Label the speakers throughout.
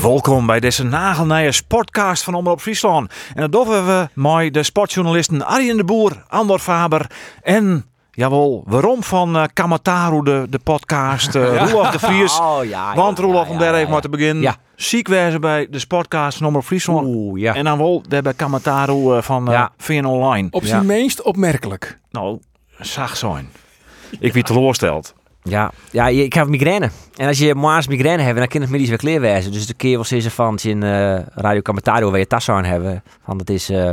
Speaker 1: Welkom bij deze nagelnije sportcast van Omroep Friesland. En dat doen we met de sportjournalisten Arjen de Boer, Andor Faber en... Jawel, waarom van eh, Kamataru, de, de podcast, eh, Roelof de Vries.
Speaker 2: Oh, ja, ja,
Speaker 1: Want Roelof,
Speaker 2: ja,
Speaker 1: om
Speaker 2: ja,
Speaker 1: daar
Speaker 2: ja,
Speaker 1: even
Speaker 2: ja.
Speaker 1: maar te beginnen.
Speaker 2: Ja.
Speaker 1: Ziek wezen bij de sportcast van Omroep Friesland.
Speaker 2: Oeh, ja.
Speaker 1: En dan wel daar bij Kamataru eh, van eh
Speaker 2: Ja.
Speaker 1: VN Online.
Speaker 3: Op zijn meest opmerkelijk.
Speaker 1: Nou, zacht zijn. Ik wie teleursteld.
Speaker 2: Ja, ja je- ik heb migraine. En als je maas migraine hebt, dan kan het middags weer clear wezen. Dus de keer wel ze van in eh Radio Camatario waar je tas aan hebben. Van dat is. eh,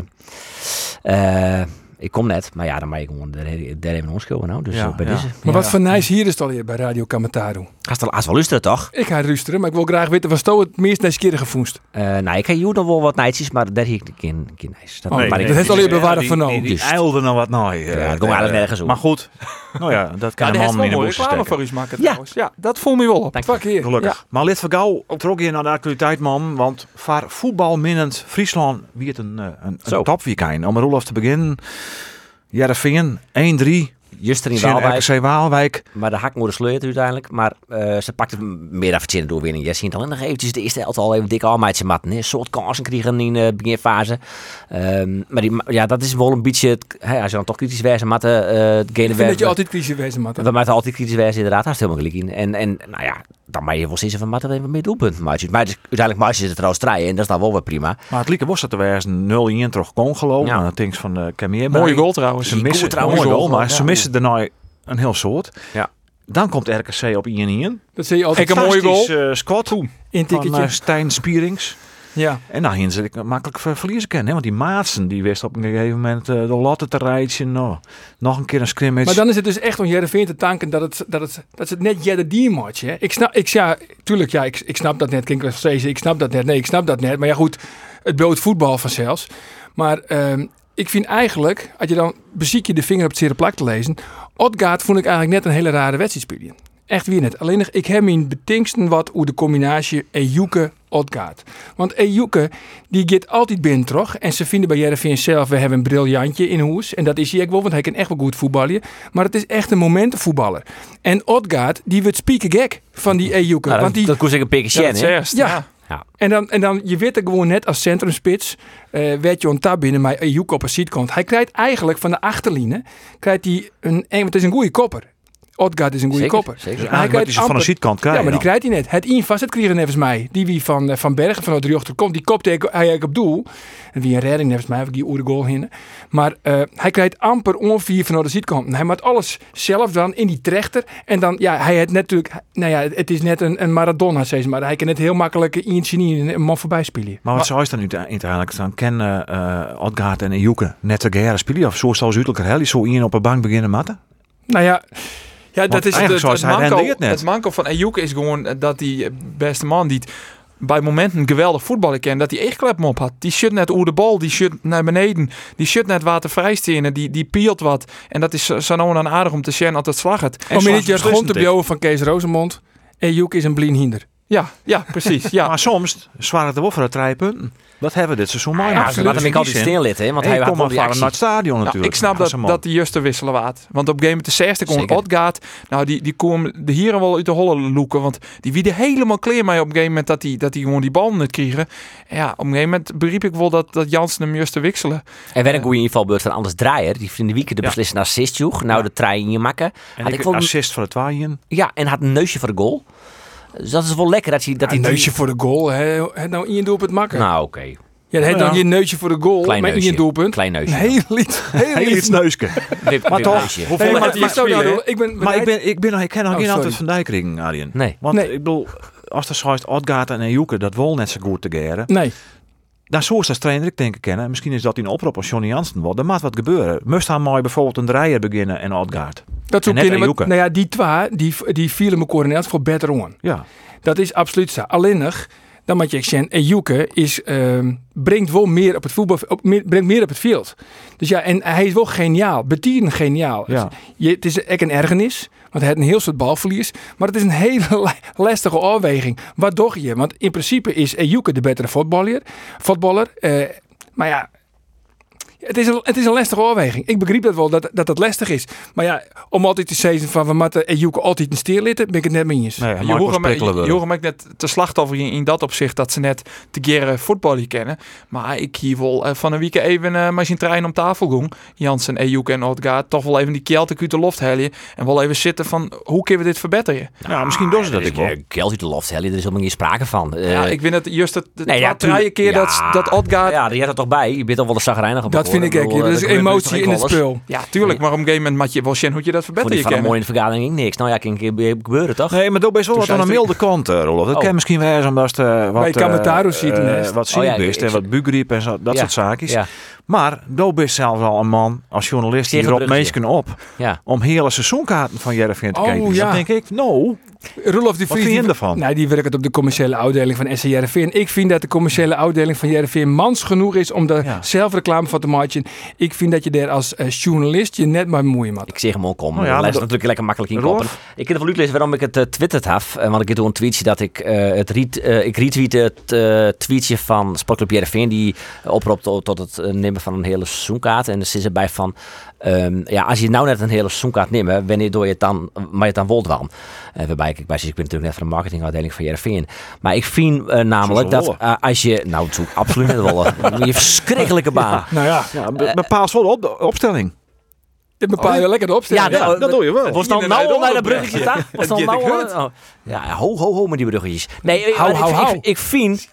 Speaker 2: eh, ik kom net, maar ja, dan mag je gewoon daar even onschulden. Nou, dus
Speaker 1: Ja,
Speaker 2: eh, bij
Speaker 1: ja.
Speaker 2: deze.
Speaker 3: Maar wat voor nice hier is het alweer bij Radio Kamataru.
Speaker 2: Gaat wel als wel luisteren, toch?
Speaker 3: Ik ga ruisteren, maar ik wil graag weten, was Sto het meest deze keer gevoest?
Speaker 2: Eh nou, ik heb hier nog wel wat nijtjes, maar daar heb ik geen geen nijtjes. Dat
Speaker 3: Oh,
Speaker 2: maar
Speaker 3: nee,
Speaker 2: ik-
Speaker 3: dat heeft alweer bewaarder
Speaker 1: die-
Speaker 3: van nou.
Speaker 1: Die, die,
Speaker 2: Juist.
Speaker 1: eilde nou wat nou.
Speaker 2: Ja, dat kon eigenlijk nergens op.
Speaker 1: Maar goed, nou ja, dat kan een
Speaker 4: Ja, daar
Speaker 1: man
Speaker 4: heeft wel
Speaker 1: in de
Speaker 4: mooie
Speaker 1: boezem
Speaker 4: reclame
Speaker 1: steken.
Speaker 4: voor u maken
Speaker 2: Ja.
Speaker 4: trouwens. Ja, dat voel me wel op.
Speaker 2: Dank je.
Speaker 3: Fuck hier.
Speaker 1: Gelukkig. Maar lid van Gauw trok je naar de actualiteit, man. Want voor voetbalminnend Friesland wie het een, eh, een,
Speaker 2: Zo.
Speaker 1: een topweekend. Om Roelof te beginnen. Jarrevingen, 1-3.
Speaker 2: Juster in
Speaker 1: tegen
Speaker 2: Waalwijk.
Speaker 1: RKC Waalwijk.
Speaker 2: Maar de hakmoeder sleurt uiteindelijk. Maar eh, ze pakte meer dan verdiende doorwinning. Je ziet alleen nog eventjes de eerste helft al even dikke almeidse matten. Een soort kansen kregen in de beginfase. Ehm, maar die, ma- ja, dat is wel een beetje... het- hè, als je dan toch kritisch wijzen matten... eh het
Speaker 3: Ik
Speaker 2: gele
Speaker 3: vind dat je
Speaker 2: werk-
Speaker 3: altijd crisis wezen, Matt.
Speaker 2: we maken altijd kritisch wijzen inderdaad. Daar is het helemaal gelijk in. En, en nou ja, dan mag je wel zeggen van matten even meer doelpunt. Maar het- maar het is- uiteindelijk maatjes ze er trouwens draaien. En dat is dan wel weer prima.
Speaker 1: Maar het lieke was dat er weer 0-1 terug kon gelopen.
Speaker 2: Ja.
Speaker 1: Ja. Dat ding van uh, Kamier.
Speaker 4: Mooie goal trouwens.
Speaker 1: Ze missen
Speaker 2: trouwens.
Speaker 1: Mooi goal,
Speaker 2: Goal,
Speaker 1: maar ze
Speaker 2: ja.
Speaker 1: missen er nou een heel soort.
Speaker 2: Ja.
Speaker 1: Dan komt RKC op 1-1.
Speaker 3: Dat zie je altijd.
Speaker 4: Ik heb- Een mooie goal.
Speaker 1: Fantastisch, eh, squad
Speaker 3: een
Speaker 1: van eh,
Speaker 3: ticketje.
Speaker 1: Stijn Spierings.
Speaker 4: eh,
Speaker 3: Ja.
Speaker 1: En nou, hier zit ik makkelijk ver- verliezen kennen. hè, Want die Maatsen die wist op een gegeven moment eh, de lotte te rijden. Nou, nog een keer een scrimmage.
Speaker 3: Maar dan is het dus echt om Jereveen te tanken dat het, dat het, dat het net Jelle die match. Hè? Ik snap, ik, ja, tuurlijk, ja, ik, ik snap dat net. Klinkt wel steeds, ik snap dat net. Nee, ik snap dat net. Maar ja, goed, het bloot voetbal vanzelfs. Maar ehm, ik vind eigenlijk, als je dan beziek je de vinger op het zere plak te lezen. Odgaard vond ik eigenlijk net een hele rare wedstrijd spelen. Echt weer net. Alleen nog, ik heb in betinksten wat hoe de combinatie Ejuke Odgaard. Want Ejuke, die gaat altijd binnen, toch? En ze vinden bij Jereveen zelf, we hebben een briljantje in huis. En dat is hij ook wel, want hij kan echt wel goed voetballen. Maar het is echt een momentenvoetballer. En Odgaard, die wordt spieken gek van die Ejuke. want
Speaker 2: Nou, dat,
Speaker 3: die,
Speaker 2: dat koest ik een pikje
Speaker 4: Ja,
Speaker 2: shen,
Speaker 4: dat
Speaker 2: hè?
Speaker 4: is eerst,
Speaker 3: Ja.
Speaker 4: ja.
Speaker 3: en, dan, en dan, je weet er gewoon net als centrumspits, eh werd je ontap binnen, maar Ejuke op een seat komt. Hij krijgt eigenlijk van de achterline, krijgt hij een, een- want het is een goede kopper. Odgaard is een goede
Speaker 2: Zeker,
Speaker 3: kopper.
Speaker 2: zeker.
Speaker 1: Dus
Speaker 3: Maar
Speaker 1: eigenlijk
Speaker 3: krijgt
Speaker 1: moet je ze van
Speaker 3: amper-
Speaker 1: de nou. zitkant krijgen.
Speaker 3: ja, maar die krijgt hij net. Het in vast, het kregen nevens mij. Die wie van, eh, van Bergen, van de driehochter komt, die kopte hij eigenlijk op doel. En wie een redding nevens mij, heb ik die oer goal hinnen. Maar eh, hij krijgt amper onvier van de ziet komt. Hij maakt alles zelf dan in die trechter. En dan, ja, hij het natuurlijk, nou ja, het is net een, een Maradona, steeds maar. Hij kan het heel makkelijk in een een man voorbij spelen.
Speaker 1: Maar wat zou je dan nu te- uiteindelijk dan kennen eh Odgaard en Ejuke net te geren spelen? Of zo zal Zuidelijke Helly zo in op een bank beginnen matten?
Speaker 3: Nou ja,
Speaker 4: Ja, dat is het,
Speaker 1: eigenlijk
Speaker 4: het,
Speaker 1: zoals
Speaker 4: het,
Speaker 1: hij
Speaker 4: manco,
Speaker 1: rendeert net.
Speaker 4: het manco van Ejuke is gewoon eh, dat die eh, beste man die het bij momenten geweldig voetballen kan, dat hij echt klep op had. Die shut net oer de bal, die shut naar beneden, die shut net watervrij stenen, die, die pielt wat. En dat is zo- zo nou en dan aardig om te zien dat het slag het.
Speaker 1: En
Speaker 3: om in
Speaker 1: zoals
Speaker 3: dit jaar gewoon
Speaker 1: beslissend
Speaker 3: te
Speaker 1: is.
Speaker 3: bouwen van Kees Rosemond. En Joek is een blien hinder.
Speaker 4: Ja, ja, precies. Ja.
Speaker 1: Maar soms zwaar het er wel voor het trijpunten. Dat hebben we dit seizoen maar.
Speaker 2: Ja, ze laten hem ik altijd stil hè? Want hij
Speaker 1: hij
Speaker 2: had
Speaker 1: komt maar
Speaker 2: wel
Speaker 1: van
Speaker 2: die
Speaker 1: naar
Speaker 2: actie.
Speaker 1: het stadion
Speaker 4: Nou,
Speaker 1: natuurlijk.
Speaker 4: ik snap dat, dat die juiste wisselen waard. Want op game de 60 kon
Speaker 2: Zeker.
Speaker 4: Odgaard. Nou, die, die kon de hieren wel uit de holle loeken. Want die wiede helemaal clear mee op een gegeven moment dat die, dat die gewoon die bal niet kregen. En ja, op een gegeven moment beriep ik wel dat, dat Jansen hem juiste wisselen.
Speaker 2: En werd een goede invalbeurt van Anders Draaier. Die in de weekend de
Speaker 1: Ja.
Speaker 2: beslissende assist joeg. Nou, de trein in je makken.
Speaker 1: en
Speaker 2: had
Speaker 1: ik
Speaker 2: ik wel-
Speaker 1: assist voor het waaien.
Speaker 2: Ja, en had een neusje voor de goal. Dus dat is wel lekker dat hij... Dat
Speaker 3: Een
Speaker 2: hij
Speaker 3: neusje voor de goal. hè. Het nou in je doelpunt makker.
Speaker 2: Nou, oké.
Speaker 3: Ja, dan heb je dan je neusje voor de goal,
Speaker 2: Klein
Speaker 3: maar
Speaker 2: neusje.
Speaker 3: in je doelpunt.
Speaker 2: Klein neusje.
Speaker 3: Een heel lied. Heel
Speaker 1: Heel
Speaker 3: lied.
Speaker 1: iets neuske.
Speaker 2: Wip-
Speaker 1: Maar
Speaker 2: wip
Speaker 1: toch,
Speaker 2: neusje.
Speaker 1: hoeveel
Speaker 3: Nee,
Speaker 1: heeft
Speaker 3: maar,
Speaker 1: hij
Speaker 3: maar zo,
Speaker 4: spelen,
Speaker 3: nou, ik ben,
Speaker 1: Maar ik, ben, ik, ben, ik ken nog
Speaker 3: Oh,
Speaker 1: geen
Speaker 3: sorry.
Speaker 1: antwoord van Dijk kringen, Arjen.
Speaker 2: Nee.
Speaker 1: Want
Speaker 3: Nee.
Speaker 1: ik bedoel, als er zoiets Odgaard en Ejuke dat wol net zo goed te geren.
Speaker 3: Nee,
Speaker 1: Daar zou ze als trainer ik denken kennen. Misschien is dat in een oproep als Johnny Jansen wordt. Er moet wat gebeuren. Must hij mooi bijvoorbeeld een draaier beginnen en Odgaard.
Speaker 3: dat
Speaker 1: En
Speaker 3: zoek
Speaker 1: net
Speaker 3: je. Nou
Speaker 1: Ayoka.
Speaker 3: ja, die twee, die, die vielen me coördinaat voor beter on.
Speaker 1: Ja.
Speaker 3: Dat is absoluut zo. Alleen nog, Dan moet je echt zeggen, Ejuke is, ehm, brengt wel meer op het voetbal, op, meer, brengt meer op het veld. Dus ja, en hij is wel geniaal, betieren geniaal.
Speaker 1: Ja.
Speaker 3: Je, het is echt een ergernis, want hij had een heel soort balverlies. Maar het is een hele la- lastige afweging. Wat doe je? Want in principe is Ejuke de betere voetballer. voetballer eh, maar ja, het is, een, het is een lastige afweging. Ik begreep dat wel, dat dat, dat lastig is. Maar ja, om altijd te zeggen van we moeten Ejuke altijd een steer litten, ben ik het net mee eens.
Speaker 1: Nee,
Speaker 4: Ja,
Speaker 1: Marco
Speaker 4: Joram,
Speaker 1: Sprikkelen wil.
Speaker 4: Joram ik net te slachtoffer in, in dat opzicht dat ze net te keren voetballen kennen. Maar ik hier wel eh, van een week even eh met zijn trein om tafel ging. Jansen, Ejuk en Odgaard toch wel even die kelten uit de loft halen. En wel even zitten van hoe kunnen we dit verbeteren?
Speaker 1: Ja, misschien doen ze dat ik wel.
Speaker 2: Geld uit de loft, hè? er is helemaal geen sprake van. Eh,
Speaker 4: ja, ik vind het juist dat de
Speaker 2: nee, ja,
Speaker 4: twee, drie
Speaker 2: tuurlijk.
Speaker 4: keer dat,
Speaker 2: Ja.
Speaker 4: dat Odgaard... Ja.
Speaker 2: Ja, die had er toch bij. Je bent al wel een zagrijnig op
Speaker 3: dat vind ik echt. Dat is emotie in het spul.
Speaker 4: tuurlijk, maar op een gegeven moment moet je wel zien hoe je dat
Speaker 2: Vond ik
Speaker 4: verbeteren
Speaker 2: van een
Speaker 4: kan.
Speaker 2: mooie vergadering niks. Nou ja, kan ik gebeuren toch?
Speaker 1: Nee, maar doe best wel
Speaker 4: Toen
Speaker 1: wat aan de
Speaker 4: zei ze-
Speaker 1: milde kant, eh, Rolof. Dat
Speaker 2: Oh.
Speaker 1: kan misschien wel eens omdat eh, wat...
Speaker 3: Bij Kamataru
Speaker 1: eh,
Speaker 3: ziet het
Speaker 1: eh,
Speaker 3: best.
Speaker 1: Wat ziek
Speaker 2: Oh, ja,
Speaker 1: bist
Speaker 2: ik-
Speaker 1: en
Speaker 2: ik-
Speaker 1: wat buugriep en zo, dat
Speaker 2: Ja.
Speaker 1: soort zaakjes.
Speaker 2: Ja,
Speaker 1: Maar doe best zelfs al een man als journalist die
Speaker 2: Zeg een
Speaker 1: erop
Speaker 2: bruggetje.
Speaker 1: mensen op
Speaker 2: ja.
Speaker 1: om hele seizoenkaarten van Jervin te
Speaker 3: Oh,
Speaker 1: kijken. Dus
Speaker 3: ja.
Speaker 1: dan denk ik, nou,
Speaker 3: Roelof de
Speaker 1: wat
Speaker 3: Vries.
Speaker 1: vind je
Speaker 3: die-
Speaker 1: ervan?
Speaker 3: Nee, die werkt op de commerciële afdeling van SCRV. Ik vind dat de commerciële afdeling van JRV mans genoeg is om daar
Speaker 1: Ja.
Speaker 3: zelf reclame van te maken. Ik vind dat je daar als eh, journalist je net maar moeien moet.
Speaker 2: Ik zeg hem ook om.
Speaker 1: Oh ja,
Speaker 2: ja,
Speaker 1: maar dat-
Speaker 2: natuurlijk lekker makkelijk in
Speaker 1: Rolf?
Speaker 2: koppen. Ik kan ervan uitlezen waarom ik het eh, twitterd heb. Eh, want ik heb toen een tweetje dat ik eh, het reet, eh, ik retweette het eh, tweetje van Sportclub Jereveen. Die oproept to- tot het eh, nemen van een hele seizoenkaart. En er zit erbij van, ehm, ja, als je nou net een hele seizoenkaart neemt, hè, wanneer doe je het dan, maar je het dan wilt dan? Eh, waarbij ik, ik, ben- ik ben natuurlijk net van de marketingafdeling van Jereveen. Maar ik vind eh, namelijk
Speaker 1: Zo
Speaker 2: dat
Speaker 1: is het
Speaker 2: eh, als je, nou het is ook absoluut net wel, eh, je verschrikkelijke baan.
Speaker 3: Nou ja,
Speaker 1: Ja, be- bepaal eh, wel op de opstelling.
Speaker 3: dit bepaal
Speaker 1: Oh,
Speaker 3: je lekker de opstelling.
Speaker 2: Ja, dat-
Speaker 1: dat doe je wel.
Speaker 2: Was dan
Speaker 4: Inderdaad,
Speaker 2: nou al naar dat
Speaker 4: onderbrug.
Speaker 2: bruggetje daar? Was dan
Speaker 4: Ja,
Speaker 2: nou
Speaker 4: dat
Speaker 2: al-
Speaker 4: gebeurt.
Speaker 2: oh. Ja, ho, ho, ho met die bruggetjes. Nee, eh,
Speaker 3: Hou,
Speaker 2: maar
Speaker 3: hou,
Speaker 2: ik,
Speaker 3: hou.
Speaker 2: Ik, ik vind...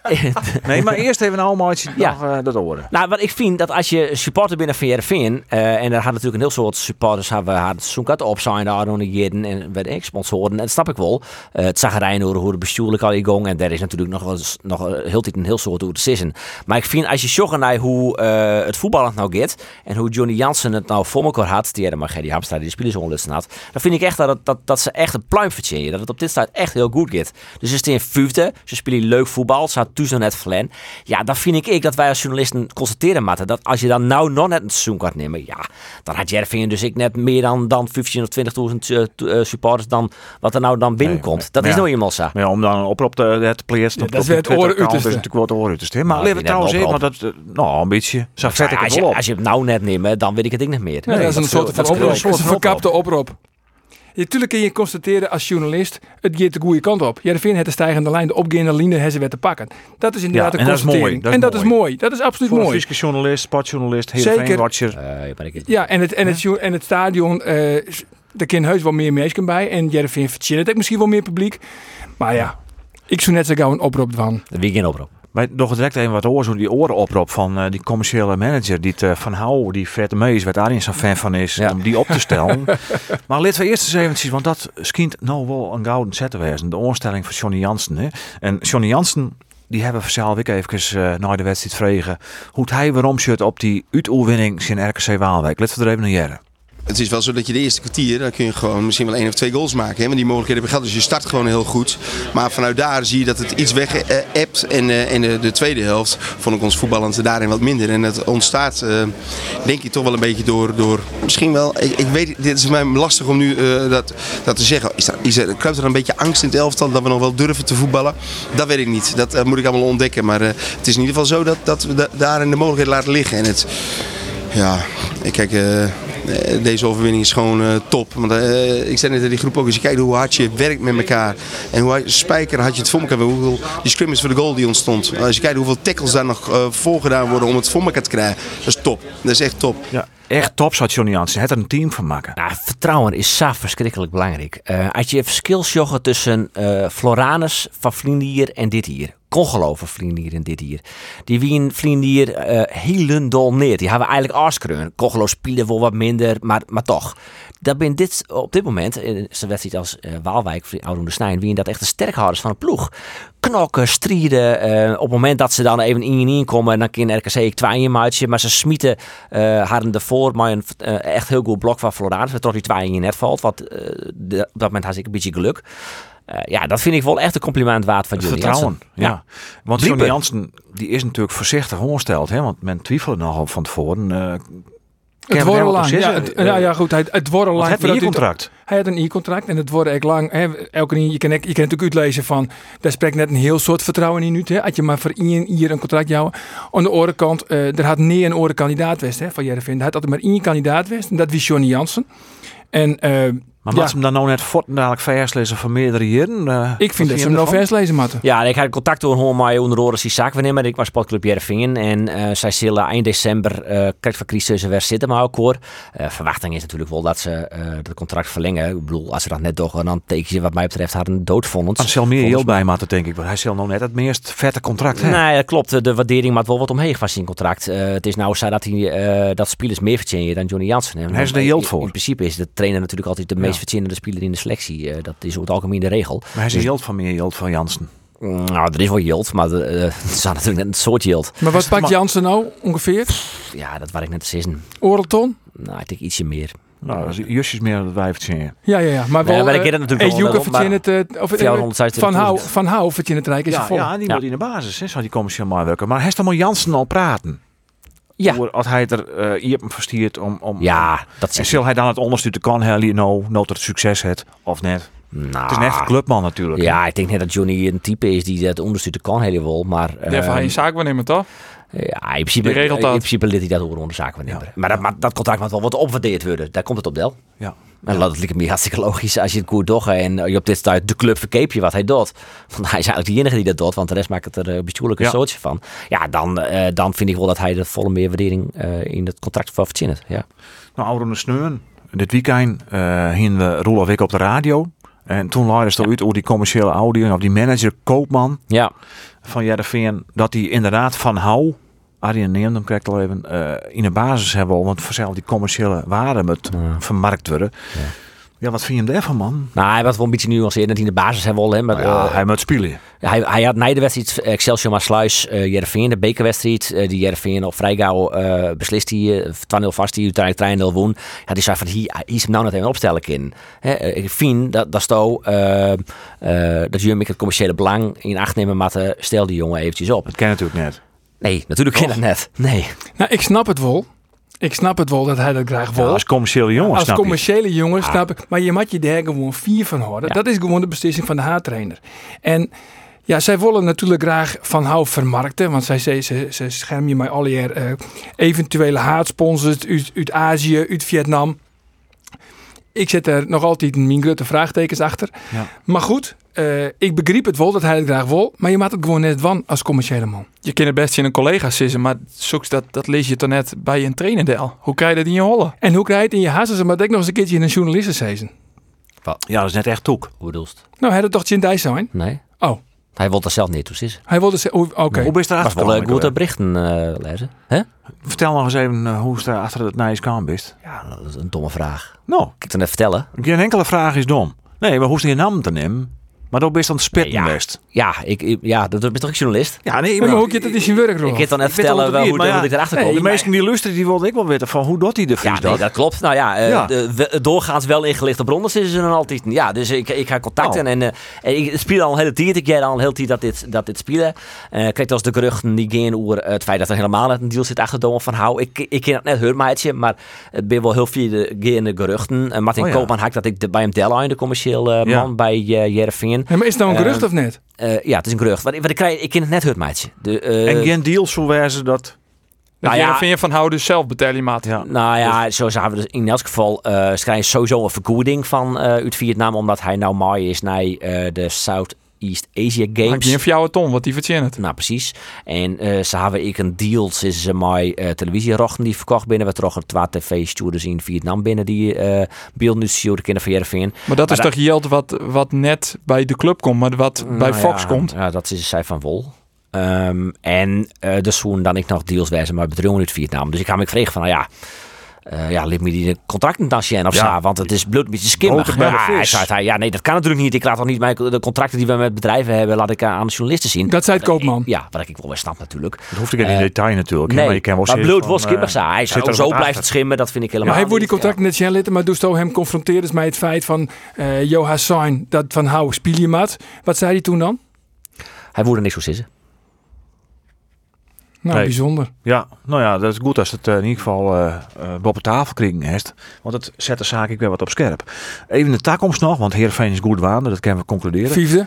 Speaker 1: Nee, maar eerst even een almaatje
Speaker 2: Ja.
Speaker 1: nog, eh, dat horen.
Speaker 2: nou, wat ik vind, dat als je supporter bent van Jervin... eh en daar had natuurlijk een heel soort supporters... hebben had het zoekart op zijn, daar onder Jeden en weet ik, sponsoren. En dat snap ik wel. Eh, het zag erin hoe hoe de bestuurlijk al in gang. En daar is natuurlijk nog, wel eens- nog eh, heel tijd een heel soort hoe te sissen. Maar ik vind, als je zocht naar hoe eh, het voetbal het nou gaat... en hoe Johnny Jansen het nou voor elkaar had... die er maar Gerry Hamstra die de spelers onderlisten had... dan vind ik echt dat, het- dat, dat ze echt een pluim verdienen. Dat het op dit staat echt heel goed gaat. Dus ze staan vijfde, ze spelen leuk voetbal, ze hadden toen nog net flan. Ja, dan vind ik ik dat wij als journalisten constateren moeten... dat als je dan nou nog net een seizoen gaat nemen... ja, dan had Jervin dus ik net meer dan, dan 15 of 20.000 eh, to- eh, supporters... dan wat er nou dan binnenkomt.
Speaker 1: nee.
Speaker 2: dat
Speaker 1: Maar
Speaker 2: is
Speaker 1: ja.
Speaker 2: nou eenmaal zo.
Speaker 1: Maar ja, om dan een oproep te, eh, te plaatsen
Speaker 3: Ja, dat
Speaker 1: op, op
Speaker 3: is
Speaker 1: je
Speaker 3: weer het oren
Speaker 1: Twitter-account is
Speaker 3: uiterste.
Speaker 1: natuurlijk wel het oren uiterste. Maar
Speaker 2: Nou,
Speaker 1: leven
Speaker 2: die net
Speaker 1: trouwens in, want
Speaker 2: oproep.
Speaker 1: dat, eh, nou, een beetje, zo vet ik het
Speaker 2: als,
Speaker 1: wel
Speaker 2: je,
Speaker 1: op.
Speaker 2: als je het nou net neemt, dan weet ik het ik niet meer. Eh,
Speaker 3: Nee, dat is een soort
Speaker 2: scheelt-
Speaker 3: van
Speaker 2: dat
Speaker 3: oproep.
Speaker 2: scheelt.
Speaker 3: Het is een
Speaker 1: Soort
Speaker 3: verkapte oproep. Natuurlijk kun je constateren als journalist, het gaat de goede kant op. Jervin het de stijgende lijn, de opgaande linie, hebben ze weer te pakken. Dat is inderdaad
Speaker 1: Ja,
Speaker 3: een
Speaker 1: en dat is mooi.
Speaker 3: constatering.
Speaker 1: Dat is
Speaker 3: en dat is
Speaker 1: mooi.
Speaker 3: mooi. Dat is absoluut
Speaker 1: Voor een
Speaker 3: mooi.
Speaker 1: Friese journalist, sportjournalist,
Speaker 3: Zeker.
Speaker 1: heel watcher
Speaker 2: Eh, maar ik-
Speaker 3: Ja, en het, en het, jo- en het stadion, eh daar kan heus wel meer mensen bij. En Jervin verchillen het misschien wel meer publiek. Maar ja, ik zou net zo gauw een oproep van.
Speaker 2: De weekend oproep.
Speaker 1: Maar nog direct even wat oor, zo die oren oproep van eh, die commerciële manager, die het, eh, Van Hou, die vette mees, waar Arjen zo'n fan van is,
Speaker 2: Ja.
Speaker 1: om die op te stellen. maar laten we eerst eens even zien, want dat schijnt nou wel een gouden set te wezen. De oorstelling van Johnny Jansen. Hè? En Johnny Jansen, die hebben vanzelf ik even eh naar de wedstrijd vregen, hoe het hij weer omzet op die uitoverwinning in RKC Waalwijk. Laten we er even naar jaren.
Speaker 5: Het is wel zo dat je de eerste kwartier, dan kun je gewoon misschien wel één of twee goals maken. Hè? Want die mogelijkheden heb je gehad, dus je start gewoon heel goed. Maar vanuit daar zie je dat het iets weg eh, ebt. En, eh, en de, de tweede helft vond ik ons voetballend daarin wat minder. En dat ontstaat, eh, denk ik, toch wel een beetje door... door misschien wel, ik, ik weet, dit is mij lastig om nu eh, dat, dat te zeggen. Is, dat, is er, kruipt er een beetje angst in het elftal dat we nog wel durven te voetballen? Dat weet ik niet. Dat eh, moet ik allemaal ontdekken. Maar eh, het is in ieder geval zo dat, dat we da- daarin de mogelijkheden laten liggen. En het, ja, ik kijk, eh, eh, deze overwinning is gewoon eh, top. Want eh, ik zei net in die groep ook, als je kijkt hoe hard je werkt met elkaar. En hoe hard- spijker had je het voor elkaar. Hoeveel die scrimmage voor de goal die ontstond. Als je kijkt hoeveel tackles daar nog eh, voor gedaan worden om het voor elkaar te krijgen. Dat is top. Dat is echt top.
Speaker 1: Ja. Echt top, zat Johnny Jansen. Het er een team van maken.
Speaker 2: Nou, vertrouwen is zo verschrikkelijk belangrijk. Eh, als je verschil zocht tussen eh, Floranus van Vlindier en dit hier. Congeloven Vlindier en dit hier. Die wien Vlindier eh heel dol neer. Die hebben eigenlijk aaskreun. Congelo spelen wel wat minder, maar, maar toch. Dat ben dit op dit moment, in zo'n wedstrijd als eh, Waalwijk, Oudoen de Snijn, wien dat echt de sterkhouders van een ploeg. Knokken, strijden. eh, op het moment dat ze dan even in in komen, dan kan RKC ik twaaien maatje. Maar ze smieten eh hadden ervoor maar een eh, dus echt heel goed blok van Floraan. Tot die twaaien net valt. Wat eh, de- op dat moment had ik een beetje geluk. Eh, Eh, ja, dat vind ik wel echt een compliment waard van jullie.
Speaker 1: Vertrouwen. Ja.
Speaker 2: Ja.
Speaker 1: Want
Speaker 2: Dieper.
Speaker 1: Johnny Jansen die is natuurlijk voorzichtig ongesteld. Hè? Want men twijfelde nogal van tevoren. eh
Speaker 3: Het
Speaker 1: Ken
Speaker 3: wordt
Speaker 1: wel
Speaker 3: lang.
Speaker 1: precies,
Speaker 3: Ja,
Speaker 1: eh,
Speaker 3: het- ja, ja, goed. Hij, het wordt
Speaker 1: wat
Speaker 3: lang.
Speaker 1: heb je
Speaker 3: voordat
Speaker 1: hier
Speaker 3: hij-
Speaker 1: contract?
Speaker 3: Hij had een e-contract en het wordt echt lang. Hè, elke keer, je kan, ek- je kan natuurlijk uitlezen van, daar spreekt net een heel soort vertrouwen in uit. Hè. Had je maar voor één hier een contract jouw. Aan de andere kant, eh, er had nee een andere kandidaat west hè, van Jerevin. Er had altijd maar één kandidaat west en dat was Johnny Jansen. En eh,
Speaker 1: Maar
Speaker 3: Ja.
Speaker 1: wat ze hem dan nou net fort dadelijk verslezen van meerdere jaren? eh,
Speaker 3: ik vind
Speaker 1: wat
Speaker 3: dat ze
Speaker 1: je
Speaker 3: hem nou
Speaker 1: ervan?
Speaker 3: vers lezen moeten.
Speaker 2: Ja, en ik had contact door Holland maar onder andere die zaak wanneer ik was sportclub Jervingen. En eh, zij zullen eind december eh krijgt van Chris tussen weer zitten, maar ook hoor. Eh, verwachting is natuurlijk wel dat ze eh het contract verlengen. Ik bedoel, als ze dat net doen, dan teken ze wat mij betreft haar een
Speaker 1: Dan
Speaker 2: doodvondens.
Speaker 1: zal meer
Speaker 2: Volgens
Speaker 1: heel bij maten, denk ik. Want hij zal nou net het meest vette contract hebben.
Speaker 2: Nee, dat klopt. De waardering maakt wel wat omheen van zijn contract. Eh, het is nou zo dat, hij, eh, dat spelers meer verdienen dan Johnny Jansen. En
Speaker 1: Hij is er
Speaker 2: in-
Speaker 1: heel
Speaker 2: in-
Speaker 1: voor.
Speaker 2: In principe is de trainer natuurlijk altijd de meest
Speaker 1: Ja.
Speaker 2: verdienende speler in de selectie. Eh, dat is over het algemeen de regel.
Speaker 1: Maar hij is een Jilt van meer Jilt van Jansen.
Speaker 2: Mm, Nou, er is wel yield, maar de, eh, het is natuurlijk net een soort yield.
Speaker 3: Maar wat pakt
Speaker 1: maar-
Speaker 3: Jansen nou ongeveer?
Speaker 2: Ja, dat waar ik net te zeggen.
Speaker 3: Orelton?
Speaker 2: Nou, ik denk ietsje meer.
Speaker 1: Nou, dat is justjes meer dan dat wij verzinnen.
Speaker 3: Ja, ja, ja. Maar
Speaker 2: Nee,
Speaker 3: wel,
Speaker 2: maar ik
Speaker 3: eh,
Speaker 2: ken het natuurlijk
Speaker 3: en
Speaker 2: wel
Speaker 3: Joeken
Speaker 2: wel, maar
Speaker 3: verdient het, eh, of-
Speaker 2: 450
Speaker 3: Van Hou,
Speaker 2: toerist.
Speaker 3: van Hou verdient het Rijk is
Speaker 1: Ja,
Speaker 3: vol.
Speaker 1: ja, en die
Speaker 2: Ja.
Speaker 1: wordt in de basis. Hè, zou die commercieel maar werken. Maar hij is dan met Jansen al praten.
Speaker 2: Ja.
Speaker 1: Voor- Als hij het er eh hier op hem verstiert om... om
Speaker 2: Ja, dat
Speaker 1: Ah. En
Speaker 2: is...
Speaker 1: zal hij dan het onderstuur te kan, Helly, nou, nood het succes het, of net?
Speaker 2: Nou,
Speaker 1: Het is een echte clubman natuurlijk.
Speaker 2: Ja, ik denk net dat Johnny een type is die dat ondersteunt kan helemaal, maar... ehm,
Speaker 4: Daarvoor hij een zaak waarnemen, toch?
Speaker 2: ja, in principe,
Speaker 4: die regelt
Speaker 2: in
Speaker 4: dat.
Speaker 2: principe liet hij dat horen onder zaken wanneer. Maar dat, maar dat contract moet wel wat opwaardeerd worden. Daar komt het op, Del.
Speaker 1: Ja.
Speaker 2: En dat lijkt me hartstikke logisch als je het koer doggen en eh, je op dit stuit de club verkeep je wat hij doet. Want hij is eigenlijk de enige die dat doet, want de rest maakt het er eh, bestuurlijk een
Speaker 1: Ja.
Speaker 2: soortje van. Ja, dan, eh, dan vind ik wel dat hij de volle meerwaardering eh, in het contract voor verdient. Ja.
Speaker 1: Nou, ouder de sneun. Dit weekend eh hingen we Roelof Wik op de radio. En toen luidde ze eruit over die commerciële audio of die manager Koopman
Speaker 2: ja.
Speaker 1: van Jereveen. Dat hij inderdaad van hou, Arjen neemt hem krijgt al even, eh, in de basis hebben wil. Want vanzelf die commerciële waarde moet vermarkt worden. Ja. wat vind je hem daarvan man?
Speaker 2: Nou, hij was wel een beetje nuanceerd dat hij in de basis hebben wil, hè, maar
Speaker 1: ja,
Speaker 2: eh,
Speaker 1: hij moet spelen.
Speaker 2: Hij, hij had na de wedstrijd eh, Excelsior Maasluis, eh Jervin, de bekerwedstrijd. eh, die Jervin op Vrijgauw eh, beslist hij, eh, 2-0 vast, die uiteindelijk 3-0 woon. Ja, die zei van, hier hier is hem nou net even opstellen in. Ik vind dat, dat Sto, eh, eh, dat jullie het commerciële belang in acht nemen, maar eh, stel die jongen eventjes op.
Speaker 1: Dat ken je natuurlijk net.
Speaker 2: Nee, natuurlijk kan dat net. Nee.
Speaker 3: Nou, ik snap het wel. Ik snap het wel dat hij dat graag wil.
Speaker 1: Ja, als commerciële jongen
Speaker 3: Als
Speaker 1: Oh, snap Ah. je.
Speaker 3: commerciële jongen snap ik. Maar je mag je daar gewoon vier van houden.
Speaker 2: Ja.
Speaker 3: Dat is gewoon de beslissing van de haartrainer. En ja, zij willen natuurlijk graag Van Hou vermarkten. Want zij ze, ze, ze schermen je met al je eh, eventuele haatsponsors uit, uit Azië, uit Vietnam. Ik zet er nog altijd mijn grote vraagtekens achter.
Speaker 1: Ja.
Speaker 3: Maar goed, eh, ik begreep het wel dat hij het graag wil. Maar je maakt het gewoon net wan als commerciële man.
Speaker 4: Je kan het best in een collega sissen, maar zoeks dat, dat lees je toch net bij een trainendeel. Hoe krijg je dat in je holle?
Speaker 3: En hoe krijg je het in je hazen? Maar denk nog eens een keertje in een journalistenseizoen.
Speaker 1: Ja, dat is net echt toek.
Speaker 2: Hoe bedoelst? het?
Speaker 3: Nou, hij had toch Jindai zijn?
Speaker 2: Nee.
Speaker 3: Oh.
Speaker 2: Hij wil dat zelf niet, hoe is het?
Speaker 3: Hij wilde zeggen, oh, oké.
Speaker 1: Hoe ben je
Speaker 2: Dat
Speaker 1: erachter
Speaker 2: was wel eh,
Speaker 1: gekomen,
Speaker 2: goede
Speaker 1: Nicolai?
Speaker 2: berichten eh, lezen. hè?
Speaker 1: Vertel nog eens even eh, hoe ze achter het Nijs kan bent.
Speaker 2: Ja, dat is een domme vraag.
Speaker 1: Nou,
Speaker 2: Ik kan het net vertellen.
Speaker 1: Geen enkele vraag is dom. Nee, maar hoe is die naam te nemen? Maar dat best aan het spitten
Speaker 2: Ja.
Speaker 1: best.
Speaker 2: Ja, ik, ik- ja, dat ben toch een journalist?
Speaker 1: Ja, nee,
Speaker 3: Ja, maar hoe zit het in zijn werk, Roland?
Speaker 2: Ik kan dan net
Speaker 1: Oh. Ik weet al
Speaker 2: vertellen
Speaker 1: dat
Speaker 2: wel
Speaker 1: niet,
Speaker 2: hoe,
Speaker 1: maar
Speaker 2: hoe
Speaker 1: ja,
Speaker 2: ik erachter
Speaker 1: nee,
Speaker 2: kom.
Speaker 1: de meesten die luisteren, die wilden ik wel weten van hoe doet hij de
Speaker 2: Ja,
Speaker 1: Vries
Speaker 2: nee, dat klopt. Nou ja, eh,
Speaker 1: Ja.
Speaker 2: De, we- doorgaans wel ingelichte bronnen is er dan altijd. Ja, dus ik, ik ga contacten
Speaker 1: Oh.
Speaker 2: en, eh, en ik speel al een hele tijd. Ik jij al een hele tijd dat dit, dat dit spelen. Eh kijk, als de geruchten die gaan over het feit dat er helemaal net een deal zit achter Domen van Hou. Ik, ik ken dat net hun maatje, maar het ben wel heel veel de gaande geruchten. Eh, Martin
Speaker 1: Oh ja.
Speaker 2: Koopman haakt dat ik de, bij hem Delline, de commercieel eh,
Speaker 1: Ja.
Speaker 2: man bij eh Jervingen.
Speaker 3: Nee, maar is het nou een
Speaker 2: Eh,
Speaker 3: gerucht of net?
Speaker 2: Eh, ja, het is een gerucht. Wat, ik- wat ik krijg, ik ken het net hun maatje. De, eh,
Speaker 1: en geen deal zo wijzen dat...
Speaker 4: Dat
Speaker 2: Nou
Speaker 4: je
Speaker 2: ja.
Speaker 4: er vind je van houden dus zelf betalen je maat.
Speaker 1: Ja.
Speaker 2: Nou ja, zo hebben we dus in elk geval eh schrijven sowieso een vergoeding van eh uit Vietnam, omdat hij nou mooi is naar eh, de Southeast Asia
Speaker 4: Hangt
Speaker 2: Games.
Speaker 4: niet van jou ton, wat die verdient het.
Speaker 2: Nou, precies. En eh ze hebben ik een deal tussen ze mij eh televisierochten die verkocht binnen. We trokken twee tv-stuurders in Vietnam binnen die eh beeld nu stuurden kinderen van Jereveen.
Speaker 4: Maar dat
Speaker 2: Maar
Speaker 4: is
Speaker 2: da-
Speaker 4: toch geld wat, wat net bij de club komt, maar wat bij
Speaker 2: Nou
Speaker 4: Fox
Speaker 2: ja,
Speaker 4: komt.
Speaker 2: Ja, dat is zij van Wol. Ehm, en eh dus toen dan ik nog deals wijzen met bedrijven uit Vietnam. Dus ik ga me vragen van, nou ja, eh, ja, liet me die contract niet aan zien of
Speaker 1: Ja.
Speaker 2: zo, want het is bloed een beetje skimmig.
Speaker 1: Boter bij de
Speaker 2: Ja, hij
Speaker 1: vis.
Speaker 2: zei, hij, ja, nee, dat kan natuurlijk niet. Ik laat al niet mijn, de contracten die we met bedrijven hebben, laat ik eh, aan de journalisten zien.
Speaker 3: Dat zei het Koopman.
Speaker 2: Ja, wat ik wel weer snap natuurlijk.
Speaker 1: Dat hoeft ik in
Speaker 2: Eh,
Speaker 1: detail natuurlijk. hè,
Speaker 2: nee,
Speaker 1: maar je kan wel
Speaker 2: maar
Speaker 1: zeggen
Speaker 2: bloed
Speaker 1: van,
Speaker 2: was skimmig,
Speaker 1: eh,
Speaker 2: zei hij.
Speaker 1: zit
Speaker 2: Zo,
Speaker 1: er
Speaker 2: zo
Speaker 1: wat
Speaker 2: blijft
Speaker 1: achter.
Speaker 2: het schimmen, dat vind ik helemaal
Speaker 3: Maar hij wordt die
Speaker 2: niet.
Speaker 3: contract net zien litten, maar doest hem confronteren is met het feit van eh Jo Hassan, dat van hou speel je mat. Wat zei hij toen dan?
Speaker 2: Ja. Hij wordt er niks voor zitten.
Speaker 3: Nou,
Speaker 1: Nee.
Speaker 3: bijzonder.
Speaker 1: Ja, nou ja, dat is goed als het eh, in ieder geval eh eh, op de tafel kringen heeft. Want het zet de zaak ik weer wat op scherp. Even de takkomst nog, want Heerenveen is goed waande, dat kunnen we concluderen.
Speaker 3: Vijfde.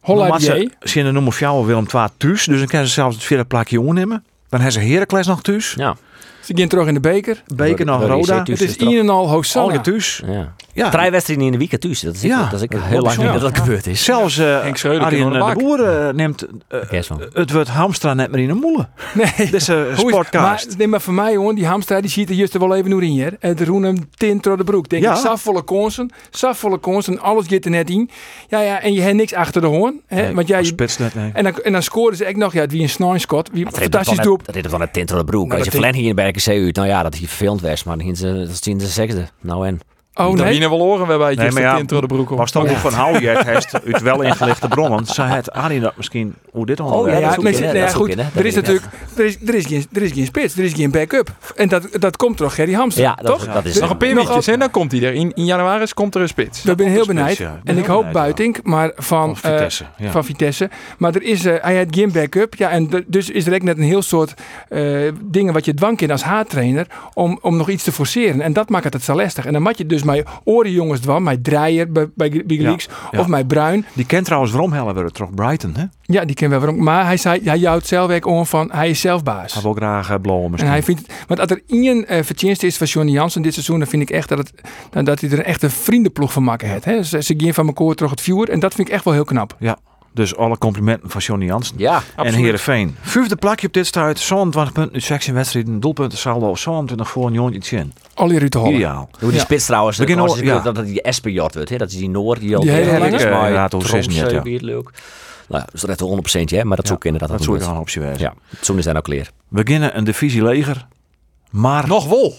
Speaker 3: Holla
Speaker 1: Maar
Speaker 3: die
Speaker 1: ze zien de nummer jou Willem 2 thuis, dus dan kunnen ze zelfs het vierde plakje onnemen. Dan hebben ze Heracles nog thuis,
Speaker 2: Ja.
Speaker 3: Ze gaan terug in de beker.
Speaker 1: Beken nog
Speaker 2: Rode
Speaker 1: Roda.
Speaker 2: IC thuis.
Speaker 3: Het is een en al
Speaker 1: Alge
Speaker 3: Hosanna.
Speaker 1: thuis.
Speaker 2: Ja.
Speaker 1: Ja,
Speaker 2: Drie wedstrijden in de weekend thuis. Dat is ik,
Speaker 1: Ja.
Speaker 2: dat is ik
Speaker 1: Ja,
Speaker 2: heel lang niet
Speaker 1: bijzonder.
Speaker 2: dat dat gebeurd is.
Speaker 1: zelfs eh
Speaker 4: Henk Schreuder
Speaker 1: Arjen
Speaker 4: kan wel
Speaker 1: de
Speaker 4: de
Speaker 1: Boer eh, neemt eh,
Speaker 2: Kerst van.
Speaker 1: het wordt Hamstra net meer in de moele.
Speaker 3: Nee.
Speaker 1: Dit is een
Speaker 3: Hoe is-
Speaker 1: sportcast.
Speaker 3: Maar, nee, maar voor mij, jongen, die hamster die ziet er juist er wel even door in. Hier. Het roen hem tint door de broek. Denk
Speaker 1: Ja.
Speaker 3: ik, safvolle kansen, safvolle kansen, alles gaat er net in. Ja, ja, en je hebt niks achter de hoorn. Hè?
Speaker 1: Nee,
Speaker 3: want jij,
Speaker 1: als spits net, nee.
Speaker 3: en, dan, en dan scoorden ze echt nog, ja, het wie een snijskot. Wie
Speaker 2: Dat reed
Speaker 3: fantastisch
Speaker 2: hem van
Speaker 3: doel.
Speaker 2: het- Dat reed van het tintere broek.
Speaker 3: Nou,
Speaker 2: Als je
Speaker 3: dat
Speaker 2: Flan hier in Berken zei uit, nou ja, dat hij verfilmd was, maar dan ging ze, dat zien ze zesde. Nou en.
Speaker 3: Oh
Speaker 4: Dan
Speaker 3: nee,
Speaker 4: winnen we horen we bij
Speaker 1: Nee,
Speaker 4: het
Speaker 1: maar ja,
Speaker 4: ja, intro de broek op. Oh,
Speaker 1: Was dan ook van hou je het heeft uit wel ingelichte bronnen. Zij het Arie dat misschien hoe
Speaker 4: Oh,
Speaker 1: dit allemaal
Speaker 2: ja,
Speaker 3: Ja,
Speaker 2: dat is
Speaker 3: ja,
Speaker 2: ook
Speaker 3: nee,
Speaker 2: in, hè.
Speaker 3: nee,
Speaker 2: Dat is ook
Speaker 3: goed.
Speaker 2: in, hè. Dat
Speaker 3: Er is
Speaker 2: weet ik
Speaker 3: natuurlijk er is, er, is geen, er is geen spits, er is geen backup. En dat, dat komt toch, Gerry Hamster?
Speaker 2: Ja, dat,
Speaker 3: toch?
Speaker 2: dat is
Speaker 3: Ja.
Speaker 4: Nog een paar
Speaker 3: Nog
Speaker 4: weekjes en dan komt hij er. In, in januari komt er een spits.
Speaker 3: Ik ben heel
Speaker 1: spits,
Speaker 3: benijd.
Speaker 1: ja. Ik ben
Speaker 3: En
Speaker 1: heel
Speaker 3: ik hoop
Speaker 1: benijd, ja.
Speaker 3: Buiting, maar van,
Speaker 1: Of Vitesse,
Speaker 3: eh,
Speaker 1: ja.
Speaker 3: van Vitesse. Maar er is, eh, hij had geen backup. Ja, en d- dus is er ook net een heel soort eh, dingen wat je dwang in als haattrainer om, om nog iets te forceren. En dat maakt het het zo lastig. En dan moet je dus mijn orenjongens dwan, mijn draaier bij, bij Big
Speaker 1: Ja,
Speaker 3: Leaks
Speaker 1: ja.
Speaker 3: of mijn bruin.
Speaker 1: Die kent trouwens Romhellen weer terug Brighton. Hè?
Speaker 3: Ja, die kennen we waarom. Maar hij zei, hij jouwt zelf ook om van, hij is zelf baas.
Speaker 1: Hij wil graag eh, blauwen
Speaker 3: En
Speaker 1: misschien.
Speaker 3: hij vindt, want als er één eh verdienste is van Johnny Jansen dit seizoen, dan vind ik echt dat, het, dan dat hij er echt een vriendenploeg van maken heeft. hè. Ze, ze gaan van elkaar terug het vuur en dat vind ik echt wel heel knap.
Speaker 1: Dus alle complimenten van Johnny Jansen.
Speaker 2: Ja.
Speaker 1: En Heerenveen. Vijfde plakje op dit stuit. 27 punten uit 16 wedstrijden. Doelpunten saldo 27 voor een jongetje iets in.
Speaker 3: Alle Ruud de Holle.
Speaker 1: Ideaal.
Speaker 2: Hoe die
Speaker 3: Ja.
Speaker 2: spits trouwens,
Speaker 1: We
Speaker 2: de
Speaker 1: kunnen
Speaker 2: kans
Speaker 1: al-
Speaker 2: is
Speaker 1: ja.
Speaker 2: dat dat die Espejord wordt, hè? dat is die Noor die al
Speaker 3: Die hele
Speaker 2: Ja,
Speaker 3: lange?
Speaker 2: dat is maar
Speaker 1: Ja, laat ons
Speaker 2: Tromsø,
Speaker 1: eens niet, ja.
Speaker 2: wie het leuk. Nou, dat is net 100% hè, maar dat
Speaker 1: Ja,
Speaker 2: zoek ik inderdaad.
Speaker 1: Dat
Speaker 2: ook
Speaker 1: zou ik
Speaker 2: nooit.
Speaker 1: al een optie wijzen.
Speaker 2: Ja, toen is hij nou clear.
Speaker 1: Beginnen een divisie leger. Maar.
Speaker 4: Nog wol.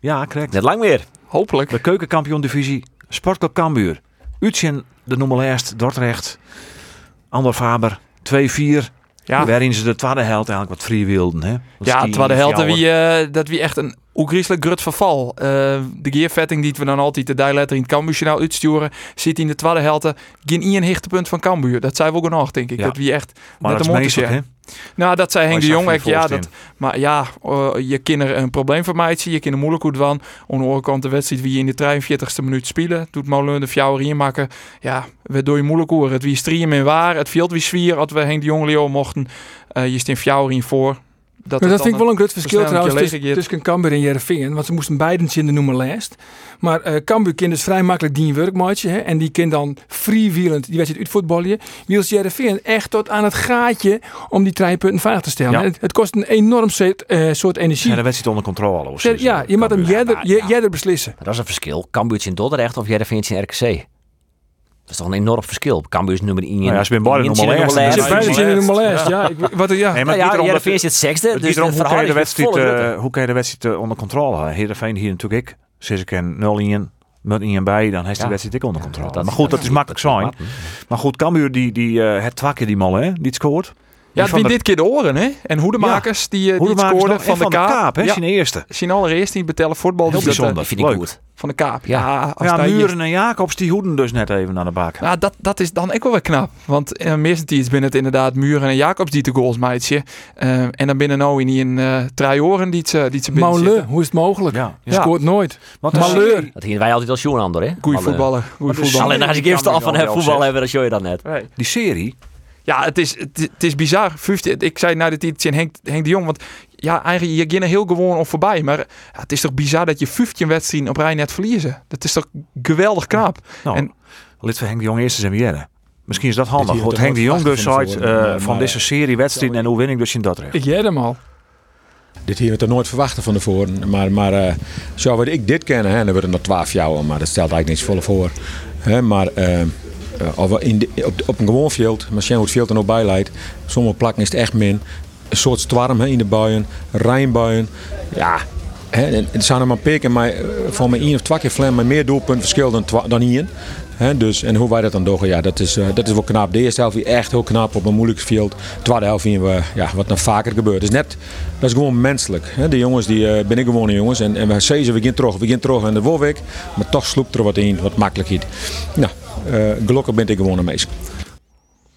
Speaker 1: Ja, correct.
Speaker 2: Net lang weer.
Speaker 4: Hopelijk.
Speaker 1: De keukenkampioen divisie. Sportclub Cambuur. Utsin de nummer eerst. Dordrecht. Ander Faber. 2-4.
Speaker 4: Ja.
Speaker 1: Waarin ze de tweede held eigenlijk wat vrij wilden. Hè? Dat is
Speaker 4: Ja,
Speaker 1: die
Speaker 4: terwijl de helden
Speaker 1: fjouwer.
Speaker 4: wie, eh, dat wie echt een oegrieselijk grut verval. Eh, de gearvetting die we dan altijd de dijletter in het Cambuurjournaal uitsturen, zit in de tweede helte geen één hichtepunt van Cambuur. Dat zei we ook nog, denk ik.
Speaker 1: Ja.
Speaker 4: Dat wie echt
Speaker 1: Maar dat
Speaker 4: net de
Speaker 1: is
Speaker 4: mond
Speaker 1: meestal, hè?
Speaker 4: Nou, dat zei Henk de
Speaker 1: Hij zag
Speaker 4: Jong. ook,
Speaker 1: geen
Speaker 4: Ja,
Speaker 1: volst
Speaker 4: dat, maar ja, eh, je kinderen een probleem van mij zien. Je kinderen moeilijk goed van. Aan de andere kant de wedstrijd wie je in de 43ste minuut spelen. Doet Molen de Fjouwer hier maken. Ja, we door je moeilijk hoor. Het wie stream in waar. Het veld wie zwier. Had we Henk de Jong Leo mochten. eh, je steen Fjouwer in voor. Dat,
Speaker 3: Maar dat
Speaker 4: het
Speaker 3: vind ik
Speaker 4: dan
Speaker 3: wel een groot verschil
Speaker 4: versnelling
Speaker 3: trouwens
Speaker 4: collega
Speaker 3: tussen,
Speaker 4: geeft.
Speaker 3: tussen Cambuur en Jerevingen. Want ze moesten beiden in de noemer lijst. Maar eh Cambuur kan dus vrij makkelijk die werkmaatje. Hè, en die kan dan freewheelend die wedstrijd uitvoetballen. Wiels Jerevingen echt tot aan het gaatje om die drie punten veilig te stellen.
Speaker 1: Ja.
Speaker 3: En Het, het kost een enorm set, eh, soort energie.
Speaker 1: Ja, de wedstrijd onder controle. of zo.
Speaker 3: ja, je moet hem
Speaker 1: Cambuur.
Speaker 3: jeder,
Speaker 2: maar-
Speaker 3: je-
Speaker 2: ja.
Speaker 3: jeder beslissen.
Speaker 2: Maar dat is een verschil. Cambuur in Dordrecht of Jereveen in RKC. Dat is toch een enorm verschil. Cambuur is nummer 1.
Speaker 1: Nou ja, ze zijn beide nummer eerst.
Speaker 3: Ze
Speaker 1: Ja,
Speaker 3: zijn
Speaker 1: dat
Speaker 3: beide
Speaker 1: is
Speaker 3: in de
Speaker 4: juist.
Speaker 3: noemer lijst. Ja, ik, wat, ja.
Speaker 1: Nee, maar
Speaker 2: Nou Ja,
Speaker 1: het gaat
Speaker 2: ja
Speaker 1: erom dat-
Speaker 2: Jereveen zit zesde.
Speaker 1: het
Speaker 2: dus
Speaker 1: gaat erom hoe kan je de
Speaker 2: verhouding is
Speaker 1: wedstrijd,
Speaker 2: volle
Speaker 1: eh,
Speaker 2: drukte.
Speaker 1: hoe kan je de wedstrijd eh, onder controle houden? Heerenveen hier natuurlijk ik. Sinds ik een 0 in, met 1 bij, dan heeft
Speaker 2: Ja.
Speaker 1: de wedstrijd ik onder controle.
Speaker 2: Dat-
Speaker 1: maar goed, dat is makkelijk zijn.
Speaker 2: dat is makkelijk.
Speaker 1: Maar goed, Cambuur die, die eh, het twakken die man hè, die het scoort.
Speaker 4: Ja,
Speaker 1: Die
Speaker 4: het
Speaker 1: van
Speaker 4: wie
Speaker 1: de-
Speaker 4: dit keer de oren, hè? En hoedemakers die, eh, die het
Speaker 1: Hoedemakers
Speaker 4: scoorden
Speaker 1: nog- en
Speaker 4: van, de Kaap.
Speaker 1: hè,
Speaker 4: ja,
Speaker 1: zijn eerste.
Speaker 4: zien allereerst die betellen voetbal.
Speaker 1: Heel
Speaker 4: dus dat, eh,
Speaker 1: bijzonder.
Speaker 2: Dat vind ik
Speaker 1: Leuk.
Speaker 2: goed.
Speaker 4: Van de Kaap.
Speaker 2: Ja.
Speaker 4: Ja, als
Speaker 1: Ja,
Speaker 4: daar je-
Speaker 1: Muren en Jacobs die hoeden dus net even aan de bak.
Speaker 4: Nou, dat, dat is dan ook wel weer knap. Want eh, meestal die is binnen het inderdaad Muren en Jacobs die de goals meidje. en dan binnen nou in die een eh Trajoren die ze die ze binnen
Speaker 3: Maule,
Speaker 4: zitten.
Speaker 3: hoe is het mogelijk?
Speaker 1: Ja.
Speaker 3: Je scoort nooit.
Speaker 1: Want
Speaker 3: Malheur.
Speaker 1: Die,
Speaker 2: Dat gingen wij altijd als Joernander, hè?
Speaker 4: Goeie
Speaker 2: Alle-
Speaker 4: voetballer. Goeie
Speaker 1: dus-
Speaker 4: voetballer.
Speaker 2: Alleen als ik
Speaker 1: Die
Speaker 2: eerst
Speaker 1: kan
Speaker 2: af
Speaker 1: ik
Speaker 2: van
Speaker 1: wel
Speaker 2: heb
Speaker 1: wel
Speaker 2: voetbal
Speaker 1: zeggen.
Speaker 2: hebben, dan show je dat net.
Speaker 1: die serie,
Speaker 4: Ja, het is, het, het is bizar. 50, ik zei na de titel in Henk, Henk de Jong. Want ja, eigenlijk, je ging er heel gewoon op voorbij. Maar ja, het is toch bizar dat je 15 wedstrijden op rij net verliezen. Dat is toch geweldig knap.
Speaker 1: nou,
Speaker 4: En-
Speaker 1: lid van Henk de Jong eerste zijn weer. Misschien is dat handig.
Speaker 6: hier
Speaker 1: Goed,
Speaker 6: toch
Speaker 1: Henk de
Speaker 6: wel
Speaker 1: Jong dus
Speaker 6: verwacht
Speaker 1: zei
Speaker 6: van
Speaker 1: eh,
Speaker 6: worden,
Speaker 1: van
Speaker 6: maar-
Speaker 1: deze serie wedstrijden en hoe win ik dus in dat recht.
Speaker 3: Ik jij hem al.
Speaker 6: Dit hier we toch nooit verwachten van tevoren. Maar, maar eh, zo wat ik dit kennen, hè, dan worden er nog twaalf jaar, maar dat stelt eigenlijk niks volle voor. Hè, maar eh, eh, of we in de- op, op een gewoon veld, maar zien hoe het veld er nog bij leidt. Sommige plakken is het echt min. Een soort storm hè, in de buien, rijnbuien. Ja, Hè, en het zijn er maar peken, maar eh, voor mij één of twee keer flam, maar meer doelpunten verschil dan, twa- dan één. Hè, dus, en hoe wij dat dan doen, ja, dat is, eh, dat is wel knap. De eerste helft is echt heel knap op een moeilijk veld. Tweede helft zien we ja, wat dan vaker gebeurt. Dus net, dat is gewoon menselijk. Hè. De jongens die eh ben ik gewoon een jongens. En, en we zeggen, we gaan terug, we gaan terug en de wolwek. Maar toch sloept er wat in, wat makkelijkheid. Nou, eh gelukkig ben ik gewoon een meester.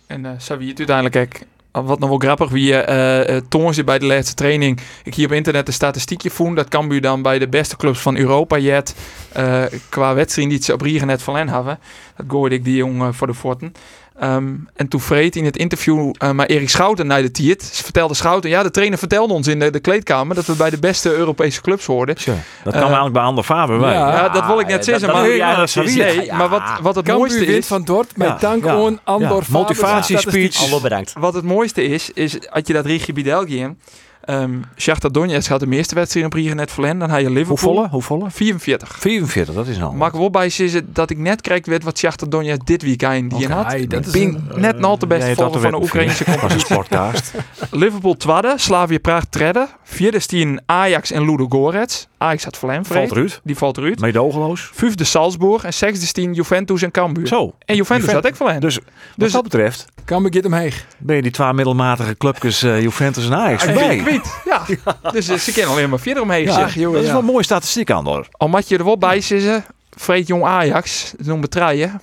Speaker 4: En eh zo wie het uiteindelijk ook. Wat nog wel grappig, wie eh eh, Toornsje bij de laatste training. Ik hier op internet de statistiekje voen. Dat kan u dan bij de beste clubs van Europa jet. eh, qua wedstrijd die ze op Riegen net van hebben. Dat gooide ik die jongen eh, voor de forten. Ehm, en toen vreet in het interview eh, maar Erik Schouten naar de tiert. Ze vertelde Schouten, ja de trainer vertelde ons in de, de kleedkamer dat we bij de beste Europese clubs hoorden.
Speaker 1: Dat kan eigenlijk bij Ander Faber bij.
Speaker 3: Ja.
Speaker 4: Ah, Ja, dat wil ik net zeggen, maar-
Speaker 1: ja, Eh, dat zou je-
Speaker 4: Nee, maar wat, wat het
Speaker 3: Cambuur
Speaker 4: mooiste
Speaker 3: wint
Speaker 4: is...
Speaker 3: van Dordt met
Speaker 1: Ja,
Speaker 3: dank
Speaker 1: ja,
Speaker 3: aan Andor
Speaker 1: ja. Motivatiespeech.
Speaker 2: Allo bedankt.
Speaker 4: Wat het mooiste is, is dat je dat Rigi Bidelgi in. ehm Shakhtar Donetsk had de meeste wedstrijden op Riga net verlend. Dan had je
Speaker 1: Hoe
Speaker 4: Liverpool.
Speaker 1: volle? Hoe volle?
Speaker 4: 44.
Speaker 1: 44, dat is nou.
Speaker 4: Mag ik wel bij zeggen dat ik net kreeg werd wat Shakhtar Donetsk dit weekend die
Speaker 3: Oké,
Speaker 4: had.
Speaker 3: dat is
Speaker 4: Bing,
Speaker 1: eh,
Speaker 4: net al de beste volger van de Oekraïnse
Speaker 1: was een
Speaker 4: competitie.
Speaker 1: sportcast.
Speaker 4: Liverpool tweede, Slavia Praag tredde. Vierde stien Ajax en Ludo Gorets. Ajax had verlend,
Speaker 1: Valt
Speaker 4: vreemd.
Speaker 1: eruit.
Speaker 4: Die valt eruit.
Speaker 1: Meedogenloos.
Speaker 4: Vijfde Salzburg en zesde stien Juventus en Cambuur.
Speaker 1: Zo.
Speaker 4: En Juventus had ik verlend.
Speaker 1: Dus, wat
Speaker 4: Dus-
Speaker 1: dat betreft
Speaker 3: Kan me get hem heen.
Speaker 1: ben je die twee middelmatige clubjes eh, Juventus en Ajax
Speaker 4: En
Speaker 1: voorbij.
Speaker 4: Vink Wiet, Ja. Dus eh, ze kennen alleen maar vier omheen.
Speaker 3: Ja,
Speaker 4: zitten.
Speaker 3: ach, joh,
Speaker 1: Dat is
Speaker 3: ja.
Speaker 1: wel een mooie statistiek, Andor.
Speaker 4: Al moet je er wel bij zitten, Vreet Jong Ajax, dat noemen we treien.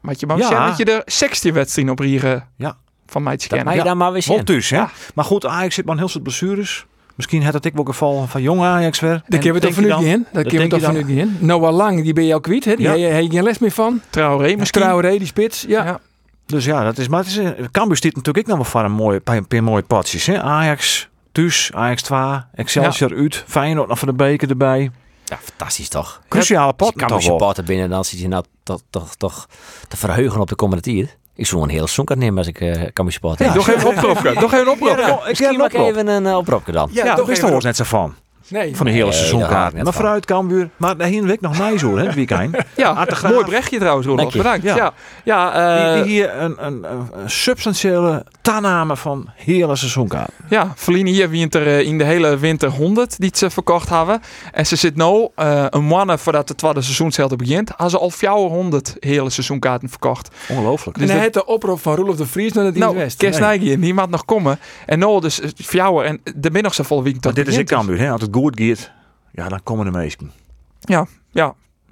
Speaker 4: Maar je mag
Speaker 1: Ja.
Speaker 4: zeggen dat je er 16 wedstrijden op hier eh,
Speaker 1: Ja.
Speaker 4: van mij te
Speaker 2: Dat mag
Speaker 4: kennen.
Speaker 2: je dan maar weer zien.
Speaker 1: Holt dus, hè?
Speaker 4: Ja.
Speaker 1: Maar goed, Ajax zit maar een heel soort blessures. Misschien had het ik wel geval van jong Ajax weer.
Speaker 3: Daar kunnen we toch
Speaker 1: denk
Speaker 3: van
Speaker 1: je
Speaker 3: nu
Speaker 1: dan-
Speaker 3: niet in? Daar kunnen we
Speaker 1: denk
Speaker 3: toch
Speaker 1: je
Speaker 3: van
Speaker 1: dan-
Speaker 3: nu niet in? Noah Lang, die ben je al kwiet, hè? Die
Speaker 1: Ja.
Speaker 3: heb je- heb je geen les meer van.
Speaker 4: Traoré misschien.
Speaker 3: Traoré, die spits. Ja.
Speaker 4: Ja.
Speaker 1: Dus ja, dat is. Maar het is, eh, Cambuur stiet natuurlijk ook nog wel voor een mooie, paar, paar mooie potjes. Hè? Ajax, Thuis, Ajax 2, Excelsior, Ut, Feyenoord nog van de beker erbij.
Speaker 2: Ja, fantastisch toch?
Speaker 1: Cruciale
Speaker 2: Als je
Speaker 1: pot
Speaker 2: kan met
Speaker 1: toch
Speaker 2: je
Speaker 1: wel.
Speaker 2: poten binnen, dan zit je nou toch, toch, toch te verheugen op de komende tier. Ik zou een heel zonkert nemen als ik eh kan met je poten heb.
Speaker 4: Nog even oproepje. Nog even oproepje.
Speaker 1: Ja, ik
Speaker 2: Misschien
Speaker 1: ken
Speaker 2: maak
Speaker 1: ook
Speaker 2: ik even een eh, oproepje dan.
Speaker 4: Ja,
Speaker 1: Ja,
Speaker 4: toch
Speaker 1: daar is
Speaker 4: even
Speaker 1: er
Speaker 4: op.
Speaker 1: ons net zo van.
Speaker 3: Nee.
Speaker 1: Van de hele
Speaker 2: Nee, daar hou ik
Speaker 1: seizoenkaart.
Speaker 2: net
Speaker 1: Maar
Speaker 2: van.
Speaker 1: vooruit Cambuur. Maar daar heen week nog nice hoor, hè, het weekend.
Speaker 4: Ja,
Speaker 1: Aan de Graaf.
Speaker 4: mooi brechtje trouwens, Roelof.
Speaker 2: Dank je.
Speaker 4: Bedankt.
Speaker 1: Ja.
Speaker 4: Ja, ja,
Speaker 1: Die,
Speaker 4: eh,
Speaker 1: die hier een, een, een- een substantiële toename van hele seizoenkaart.
Speaker 4: ja Verlien hier wint er eh, in de hele winter 100 die ze verkocht hebben. En ze zit nu eh, een mannen voordat het tweede seizoenshelft begint. Had ze al 400 hele seizoenkaarten verkocht.
Speaker 1: Ongelooflijk.
Speaker 3: en
Speaker 4: Dus
Speaker 3: hij
Speaker 4: dat-
Speaker 3: had de oproep van Roelof de Vries naar het
Speaker 4: Nou,
Speaker 3: West.
Speaker 4: Kees Nijgen, die mag nog komen. En nou, dus eh, Fjouwer en de middag zo vol week.
Speaker 1: Maar dit is
Speaker 4: dus-
Speaker 1: in Cambuur, hè? Als het goed gaat, ja, dan komen de meesten.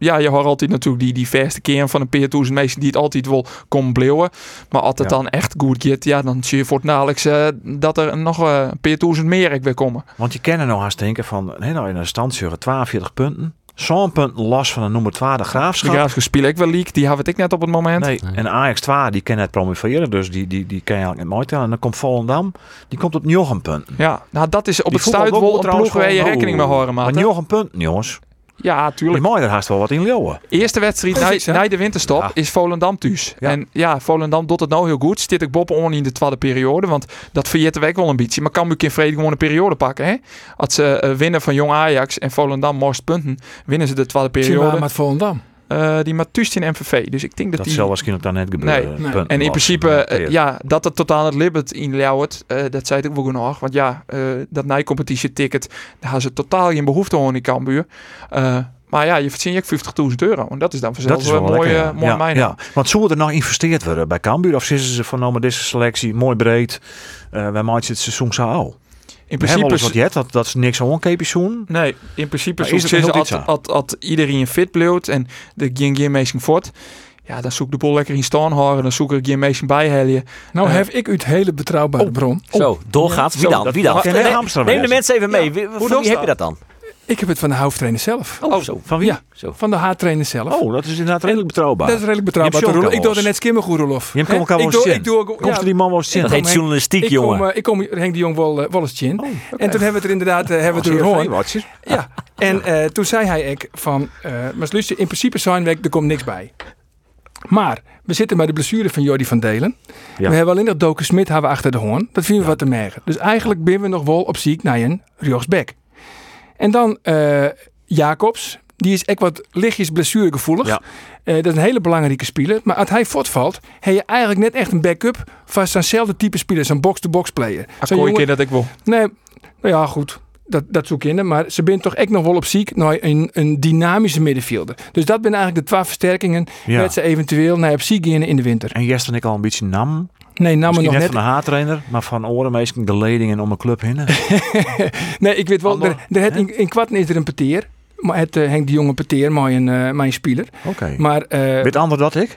Speaker 4: Ja, je hoort altijd natuurlijk die, die verste kern van een paar duizend mensen die het altijd wil komen bleeuwen. Maar als het
Speaker 1: Ja.
Speaker 4: dan echt goed gaat, ja, dan zie je voortdurend eh dat er nog eh, een paar duizend meer ik weer komen.
Speaker 1: Want je kennen nou haast denken van, hè, nou in een stand zeuren 42 punten. Zo'n punten los van een nummer 2 de
Speaker 4: De
Speaker 1: graafschap.
Speaker 4: Graafschap spelen ik wel leak, die hebben ik net op het moment.
Speaker 1: Nee, en Ajax 2 die kan het promoveren, dus die, die, die kan je eigenlijk niet mooi tellen. En dan komt Volendam, die komt op 9 punten.
Speaker 4: Ja, nou dat is op
Speaker 1: Die
Speaker 4: het stuit
Speaker 1: voetbal
Speaker 4: wel een
Speaker 1: trouwens
Speaker 4: ploeg waar je
Speaker 1: gewoon- Oh,
Speaker 4: rekening mee houden,
Speaker 1: Maar
Speaker 4: maat.
Speaker 1: 9 punten, jongens.
Speaker 4: Ja,
Speaker 1: Die
Speaker 4: tuurlijk.
Speaker 1: mooi, daar haast wel wat in Leeuwen.
Speaker 4: Eerste wedstrijd
Speaker 3: Precies,
Speaker 4: na,
Speaker 3: hè?
Speaker 4: na de winterstop
Speaker 1: Ja.
Speaker 4: is Volendam thuis.
Speaker 1: Ja.
Speaker 4: En ja, Volendam doet het nou heel goed. Stit ik Bob on in de tweede periode. Want dat verjeert de week wel een beetje. Maar Cambuur in vrede gewoon een periode pakken. Hè? Als ze eh, winnen van Jong Ajax en Volendam most punten. Winnen ze de tweede periode.
Speaker 3: Tjima met Volendam.
Speaker 4: Eh, die maakt thuis in MVV. Dus ik denk dat,
Speaker 1: Dat
Speaker 4: die...
Speaker 1: zal waarschijnlijk dan net gebeuren.
Speaker 4: Nee.
Speaker 3: Nee.
Speaker 1: punten
Speaker 4: En in
Speaker 1: los.
Speaker 4: principe, eh,
Speaker 1: Ja.
Speaker 4: ja, dat het totaal het Libbet in Ljouwert, eh, dat zei ik ook wel genoeg. Want ja, eh, dat nijcompetitie-ticket, daar hadden ze totaal geen behoefte aan in Cambuur. Eh, maar ja, je verdient je ook 50.000 euro. En dat is dan vanzelf
Speaker 1: Dat is wel
Speaker 4: een mooie,
Speaker 1: lekker, ja.
Speaker 4: mooie
Speaker 1: ja,
Speaker 4: mijne.
Speaker 1: ja. Want zullen er nog geïnvesteerd worden bij Cambuur? Of zitten ze van nou maar deze selectie mooi breed? eh wij maken het seizoen zo al.
Speaker 4: In
Speaker 1: We hebben
Speaker 4: principe,
Speaker 1: al eens wat je hebt, dat, dat is niks aan onkeepjes doen.
Speaker 4: nee, in principe
Speaker 1: Maar Nou, is
Speaker 4: zoek
Speaker 1: het
Speaker 4: ze
Speaker 1: heel
Speaker 4: als,
Speaker 1: iets aan?
Speaker 4: als, als iedereen fit bleef en de geen geen mensen voort. Ja, dan zoek de boel lekker in staan houden. Dan zoek ik geen mensen bij helje.
Speaker 3: Nou
Speaker 4: Eh.
Speaker 3: heb ik u het hele betrouwbare
Speaker 1: Oh,
Speaker 3: bron. Oh,
Speaker 2: Zo, doorgaat. Wie dan?
Speaker 1: dat-
Speaker 2: Wie dan?
Speaker 1: dat- dat-
Speaker 2: Neem,
Speaker 1: Amsterdam
Speaker 2: neem de
Speaker 1: is.
Speaker 2: mensen even mee. Wie, van
Speaker 4: dan
Speaker 2: wie heb je
Speaker 4: staat?
Speaker 2: dat dan?
Speaker 3: Ik heb het van de hoofdtrainer zelf.
Speaker 2: Oh, zo.
Speaker 1: Van wie?
Speaker 3: Ja. Van de haartrainer zelf.
Speaker 1: Oh, dat is inderdaad redelijk betrouwbaar.
Speaker 3: Dat is redelijk
Speaker 1: Je
Speaker 3: betrouwbaar.
Speaker 1: hebt
Speaker 3: Roelof.
Speaker 1: John
Speaker 3: Ik doe er
Speaker 1: Kabels.
Speaker 3: net skimmen goed, Rolf.
Speaker 1: Je hebt John Kabels
Speaker 3: Ik doe,
Speaker 1: Chin.
Speaker 3: ik doe,
Speaker 1: Komt
Speaker 3: ja,
Speaker 1: er die man wel eens
Speaker 3: Ik
Speaker 2: Dat
Speaker 1: in?
Speaker 3: kom-
Speaker 2: heet journalistiek,
Speaker 3: ik
Speaker 2: jongen.
Speaker 3: kom, eh, ik kom Henk de Jong wel, eh, wel eens
Speaker 1: Oh,
Speaker 3: chin. En toen hebben we het er inderdaad eh, hebben we het er
Speaker 1: Als
Speaker 3: gehoord.
Speaker 1: CRV-watjes.
Speaker 3: Ja, en eh, toen zei hij ook van, eh maar luister, in principe zijn we, er komt niks bij. Maar we zitten bij de blessure van Jordi van Delen.
Speaker 1: Ja.
Speaker 3: We hebben alleen nog Doken Smit hebben we achter de hoorn. Dat vinden we wat te merken. Dus eigenlijk ben we nog wel op ziek naar een rechtsback. En dan eh, Jacobs. Die is echt wat lichtjes blessuregevoelig.
Speaker 1: Ja.
Speaker 3: Eh, dat is een hele belangrijke speler. Maar als hij voortvalt, heb je eigenlijk net echt een backup van zijnzelfde type speler. Zo'n box-to-box player. Zo'n
Speaker 4: Akkoord
Speaker 3: jongen-
Speaker 4: keer dat ik wil.
Speaker 3: Nee, nou ja, goed. dat, dat zoek in. Maar ze bent toch echt nog wel op ziek naar een, een dynamische middenvelder. Dus dat zijn eigenlijk de twee versterkingen.
Speaker 1: Ja.
Speaker 3: Dat ze eventueel naar op ziek gaan in de winter.
Speaker 1: En Jester en ik al een beetje nam.
Speaker 3: Nee, namen
Speaker 1: Misschien
Speaker 3: nog
Speaker 1: net
Speaker 3: net.
Speaker 1: van de haartrainer, maar van oren meestal de leidingen om een club heen.
Speaker 3: Nee, ik weet wel.
Speaker 1: Ander-
Speaker 3: Er, er het in, in kwarten is er een peteer. Maar het eh, Henk de Jonge peteer, maar een, eh, maar een speler.
Speaker 1: Oké.
Speaker 3: Maar eh,
Speaker 1: Weet ander dat ik?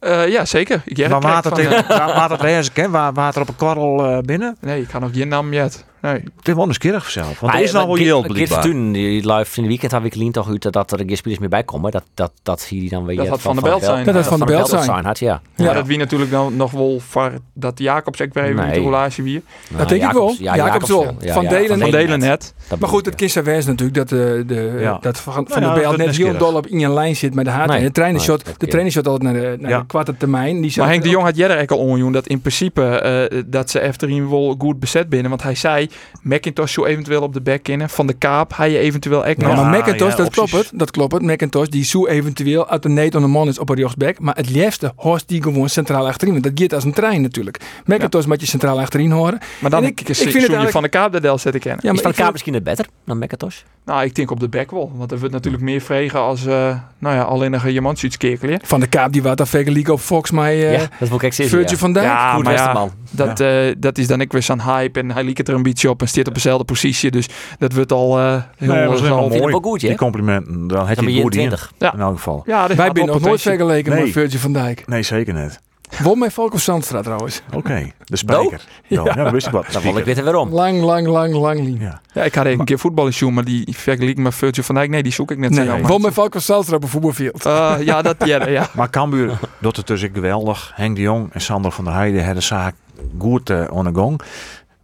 Speaker 4: Eh, ja, zeker. Ik jij
Speaker 1: Waar
Speaker 4: het
Speaker 1: water
Speaker 4: van,
Speaker 1: tegen, waar water reizen ken, waar water op een kwarrel eh, binnen.
Speaker 4: eh, Nee, ik ga nog geen naam jet. Nee.
Speaker 1: Het is wel eens kerig zelf. Want
Speaker 2: Maar
Speaker 1: er is
Speaker 2: ja,
Speaker 1: nou wel
Speaker 2: maar
Speaker 1: heel
Speaker 2: Git- Git
Speaker 1: blijkbaar.
Speaker 2: Toen, die live in de weekend had ik Lien toch uit dat- dat er geen spelers meer bij komen. Dat, dat, dat zie je dan weer.
Speaker 4: Dat had Van der
Speaker 2: de
Speaker 4: Belt zijn.
Speaker 3: dat had van de
Speaker 2: Belt
Speaker 3: belt zijn.
Speaker 2: zijn had, ja.
Speaker 3: Ja.
Speaker 4: Maar dat wie natuurlijk dan nog wel voor dat Jacobs ook weer even
Speaker 2: Nee.
Speaker 4: met de roulage wie.
Speaker 2: Nou,
Speaker 3: denk ik wel.
Speaker 2: Jacobs- ja,
Speaker 3: Jacobs wel.
Speaker 2: ja,
Speaker 3: Van
Speaker 2: ja,
Speaker 3: Delen-
Speaker 4: Van Delen net.
Speaker 2: Dat
Speaker 3: Maar goed, het
Speaker 2: bedoel
Speaker 3: kist wees natuurlijk dat, eh, de,
Speaker 1: Ja.
Speaker 3: dat Van,
Speaker 1: Nou
Speaker 3: van
Speaker 1: ja,
Speaker 3: der
Speaker 1: dat
Speaker 3: Bijl
Speaker 1: is
Speaker 3: net heel
Speaker 1: nieuwsgierig.
Speaker 3: dol op in je lijn zit met de haat.
Speaker 2: Nee,
Speaker 3: en de trainershot,
Speaker 2: nee, dat
Speaker 3: de
Speaker 2: keer.
Speaker 3: trainershot altijd naar de, naar
Speaker 1: Ja.
Speaker 3: de kwarte termijn. Die
Speaker 4: Maar
Speaker 3: zat
Speaker 4: Henk de
Speaker 3: ook-
Speaker 4: Jong had jij er al onjoen dat in principe eh, dat ze Efterin wel goed bezet binnen. Want hij zei, McIntosh zou eventueel op de back kennen. Van de Kaap, hij eventueel echt
Speaker 3: Ja,
Speaker 4: nog.
Speaker 3: maar
Speaker 1: Ja,
Speaker 3: McIntosh,
Speaker 1: ja,
Speaker 3: dat,
Speaker 1: opties.
Speaker 3: klopt het, dat klopt het. McIntosh, die zo eventueel uit de neet on de man is op een rechtsback. Maar het liefste hoort die gewoon centraal achterin. Want dat gaat als een trein natuurlijk. McIntosh moet je centraal achterin horen.
Speaker 4: Maar dan
Speaker 3: En
Speaker 4: ik,
Speaker 3: ik- ik vind
Speaker 4: zou
Speaker 3: het
Speaker 4: je
Speaker 3: eigenlijk-
Speaker 4: Van de Kaap de del zetten kennen.
Speaker 3: Ja,
Speaker 2: ik. Is
Speaker 3: maar
Speaker 2: Van
Speaker 3: ik
Speaker 2: Kaap
Speaker 3: vind,
Speaker 2: misschien het beter dan Macintosh?
Speaker 4: Nou, ik denk op de back wel. Want er wordt natuurlijk meer vregen als eh, nou ja, alleen een Jemansiets kekelen.
Speaker 3: van de Kaap, die wat dan Vega League op Fox, maar eh,
Speaker 2: ja, dat wil ik echt zeggen.
Speaker 3: Virgil
Speaker 2: Ja.
Speaker 3: van Dijk.
Speaker 4: Ja,
Speaker 2: Goed
Speaker 4: maar ja,
Speaker 2: Westerman.
Speaker 4: dat, eh, dat is dan ik weer zo'n hype. En hij liep het er een beetje op en zit op dezelfde positie. Dus dat wordt al eh, heel
Speaker 1: Nee, maar dat is
Speaker 4: zal-
Speaker 1: helemaal
Speaker 2: vind
Speaker 1: mooi.
Speaker 2: hem wel goed, hè?
Speaker 1: Die complimenten. Dan had
Speaker 2: Dan
Speaker 1: je
Speaker 2: ben
Speaker 1: het
Speaker 2: je
Speaker 1: goed in.
Speaker 2: 20.
Speaker 4: Ja.
Speaker 1: In elk geval.
Speaker 4: Ja,
Speaker 3: Wij zijn nog nooit vergeleken
Speaker 1: Nee.
Speaker 3: met Virgil van Dijk.
Speaker 1: Nee, zeker niet.
Speaker 3: Won met Volko Sandstra trouwist.
Speaker 1: Oké, de spijker. Ja, ja, dat wist ik wat.
Speaker 2: Dan wil ik weten waarom.
Speaker 3: Lang, lang, lang, lang lief.
Speaker 4: Ja, ik had even een keer voetballen zien, maar die vergelijk met Virgil van Dijk. Nee, die zoek ik net zo.
Speaker 3: Nee,
Speaker 4: jammer.
Speaker 3: won met Volko Sandstra op een voetbalveld.
Speaker 4: Eh, ja, dat ja, ja.
Speaker 1: Maar Cambuur doet het dus ik geweldig. Henk de Jong en Sander van der Heijden hebben de zaak goed eh on the gang.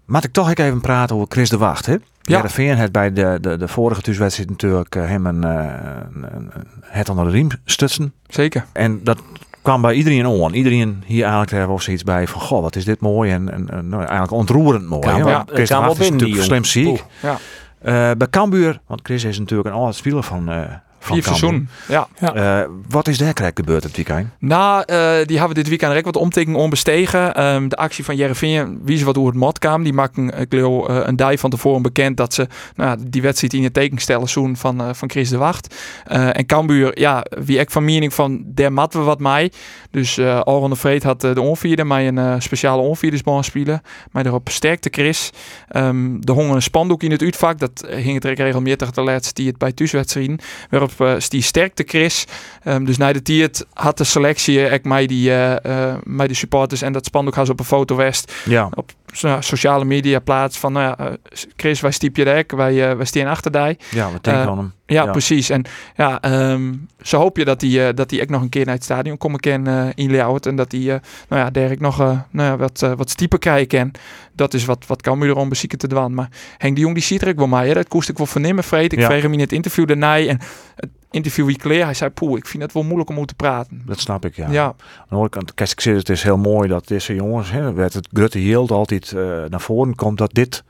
Speaker 1: Maar ik toch ook even praten over Chris de Wacht. Hè?
Speaker 4: Ja.
Speaker 1: Ja. Veen het bij de, de, de vorige thuiswedstrijd natuurlijk eh, hem een, eh, een- een- het onder de riem stutsen.
Speaker 4: Zeker.
Speaker 1: En dat kwam bij iedereen on. Iedereen hier eigenlijk te hebben of zoiets bij van goh, wat is dit mooi en, en, en, nou, eigenlijk ontroerend mooi.
Speaker 2: Kan
Speaker 1: hè?
Speaker 2: wel-
Speaker 1: Want
Speaker 2: kan
Speaker 1: Chris de
Speaker 2: wel
Speaker 1: Wacht is
Speaker 2: binnen,
Speaker 1: natuurlijk
Speaker 2: die
Speaker 1: slim
Speaker 2: jongen.
Speaker 1: ziek.
Speaker 4: Ja.
Speaker 1: Eh, bij Cambuur, want Chris is natuurlijk een oud speler van, eh van
Speaker 4: Vier
Speaker 1: Cambuur.
Speaker 4: seizoen. Ja.
Speaker 1: Eh, wat is daar krijg gebeurd het weekend?
Speaker 4: Nou, eh, die hebben dit weekend rek wat omtekening onbestegen. Ehm, de actie van Jereveen, wie ze wat hoe het mat kwam. Die maken ik geloof, eh, een dij van tevoren bekend dat ze nou, ja, die wedstrijd in het teken stellen zoen van, eh, van Chris de Wacht. Eh, en Cambuur, ja, wie ik van mening van der mat we wat mij. Dus eh Aron de Vreed had eh, de onvierde, mij een eh, speciale onvierdersbal spelen. Maar daarop sterkte Chris. Ehm er hong een spandoek in het uitvak. Dat eh, hing het rek regelmatig de laatste die het bij thuiswedstrijden. Waarop eh die sterkte Chris. Ehm, dus na de tiert had de selectie eh, ook mij die, eh, eh, mij de supporters en dat spandoek gaan ze op een foto west
Speaker 1: Ja,
Speaker 4: so- nou, sociale media plaats van nou ja, eh, Chris, wij stiep je rek, wij, eh, wij staan achter die.
Speaker 1: ja wat denk je
Speaker 4: Eh,
Speaker 1: van hem?
Speaker 4: Ja,
Speaker 1: Ja.
Speaker 4: precies. En ja, ehm, zo hoop je dat die, eh, dat die ook nog een keer naar het stadion komen kan eh, in Leeuwarden. En dat die, eh, nou ja, Derek nog eh, nou ja, wat, eh, wat stieper krijgen kan. Dat is wat, wat kan me erom bezieken te dwaan. Maar Henk de Jong, die ziet er ook wel mij. Hè? Dat koest ik wel vernemen, Vreed. Ik
Speaker 1: Ja.
Speaker 4: vreeg hem in het interview daarna. En het interview wie clear, hij zei, poeh, ik vind het wel moeilijk om hoe te praten.
Speaker 1: Dat snap ik, ja.
Speaker 4: ja.
Speaker 1: Aan de andere kant, kijk, ik zeg, het is heel mooi dat deze jongens, hè, werd het Grutte Hield altijd eh, naar voren komt, dat dit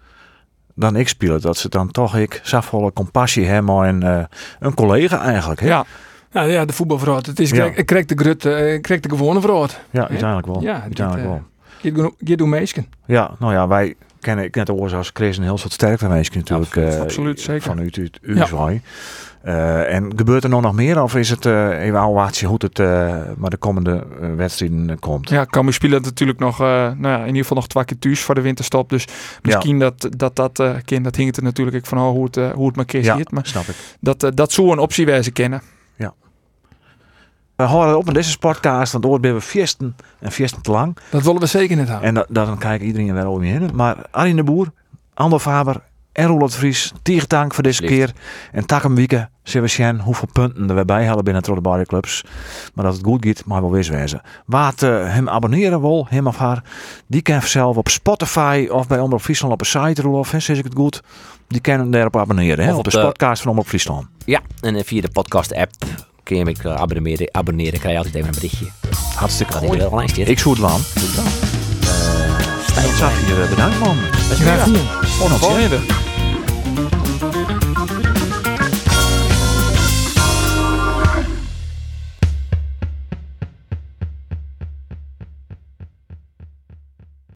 Speaker 1: dan ik spelen. Dat ze dan toch ik zachtvolle compassie hebben en eh, een collega eigenlijk. Hè?
Speaker 4: Ja,
Speaker 3: Nou ja, de voetbalverraad. Het is
Speaker 1: Ja.
Speaker 3: krek- krek de grut, eh, krek de gewone verraad.
Speaker 1: Ja, uiteindelijk wel.
Speaker 3: Ja,
Speaker 1: uiteindelijk
Speaker 4: eh,
Speaker 3: dit,
Speaker 1: wel.
Speaker 3: Je doet meesken.
Speaker 1: Ja, nou ja, wij kennen, ik net hoor als Chris een heel soort sterkte meisje natuurlijk. eh,
Speaker 4: absoluut, zeker.
Speaker 1: Vanuit u, u
Speaker 3: Ja.
Speaker 1: zwaai. Eh, en gebeurt er nou nog meer of is het eh evaluatie hoe het eh, maar de komende eh, wedstrijden eh, komt?
Speaker 4: ja Cambuur speelt natuurlijk nog, eh, nou ja, in ieder geval nog twee keer thuis voor de winterstop. Dus misschien dat dat, dat eh kind, dat hinkt er natuurlijk ook van oh, hoe, het, eh, hoe het maar Chris
Speaker 1: Ja,
Speaker 4: ziet. Maar
Speaker 1: snap ik.
Speaker 4: dat, eh, dat zou een optie wijzen kennen.
Speaker 1: We houden op met deze podcast, want ooit ben we viersten en viersten te lang.
Speaker 3: Dat willen we zeker niet houden.
Speaker 1: En dat, dat- dan kijkt iedereen wel om je heen. Maar Arjen de Boer, Ander Faber en Roland Vries, tige dank voor deze
Speaker 2: Alsjeblieft.
Speaker 1: keer. En tak hem wieken, Sebastian, hoeveel punten er weer bij halen binnen de Barry Clubs. Maar dat het goed gaat, mag wel weer wezen. Laat eh, hem abonneren wil, hem of haar. Die kan zelf op Spotify of bij Omroep Friesland op een site, Roelof, hè, zeg ik het goed. Die kunnen daarop abonneren, hè,
Speaker 2: Of
Speaker 1: op de,
Speaker 2: op de-
Speaker 1: podcast van Omroep Friesland.
Speaker 2: Ja, en eh, via de podcast-app kun je me eh, abonneren. Abonneren krijg je altijd even een berichtje.
Speaker 1: Hartstikke
Speaker 2: Dat is
Speaker 1: mooi.
Speaker 2: wel eens dit.
Speaker 1: Ik zoet het aan. Eh, Stijn Zafir, eh, bedankt man.
Speaker 4: Volgende.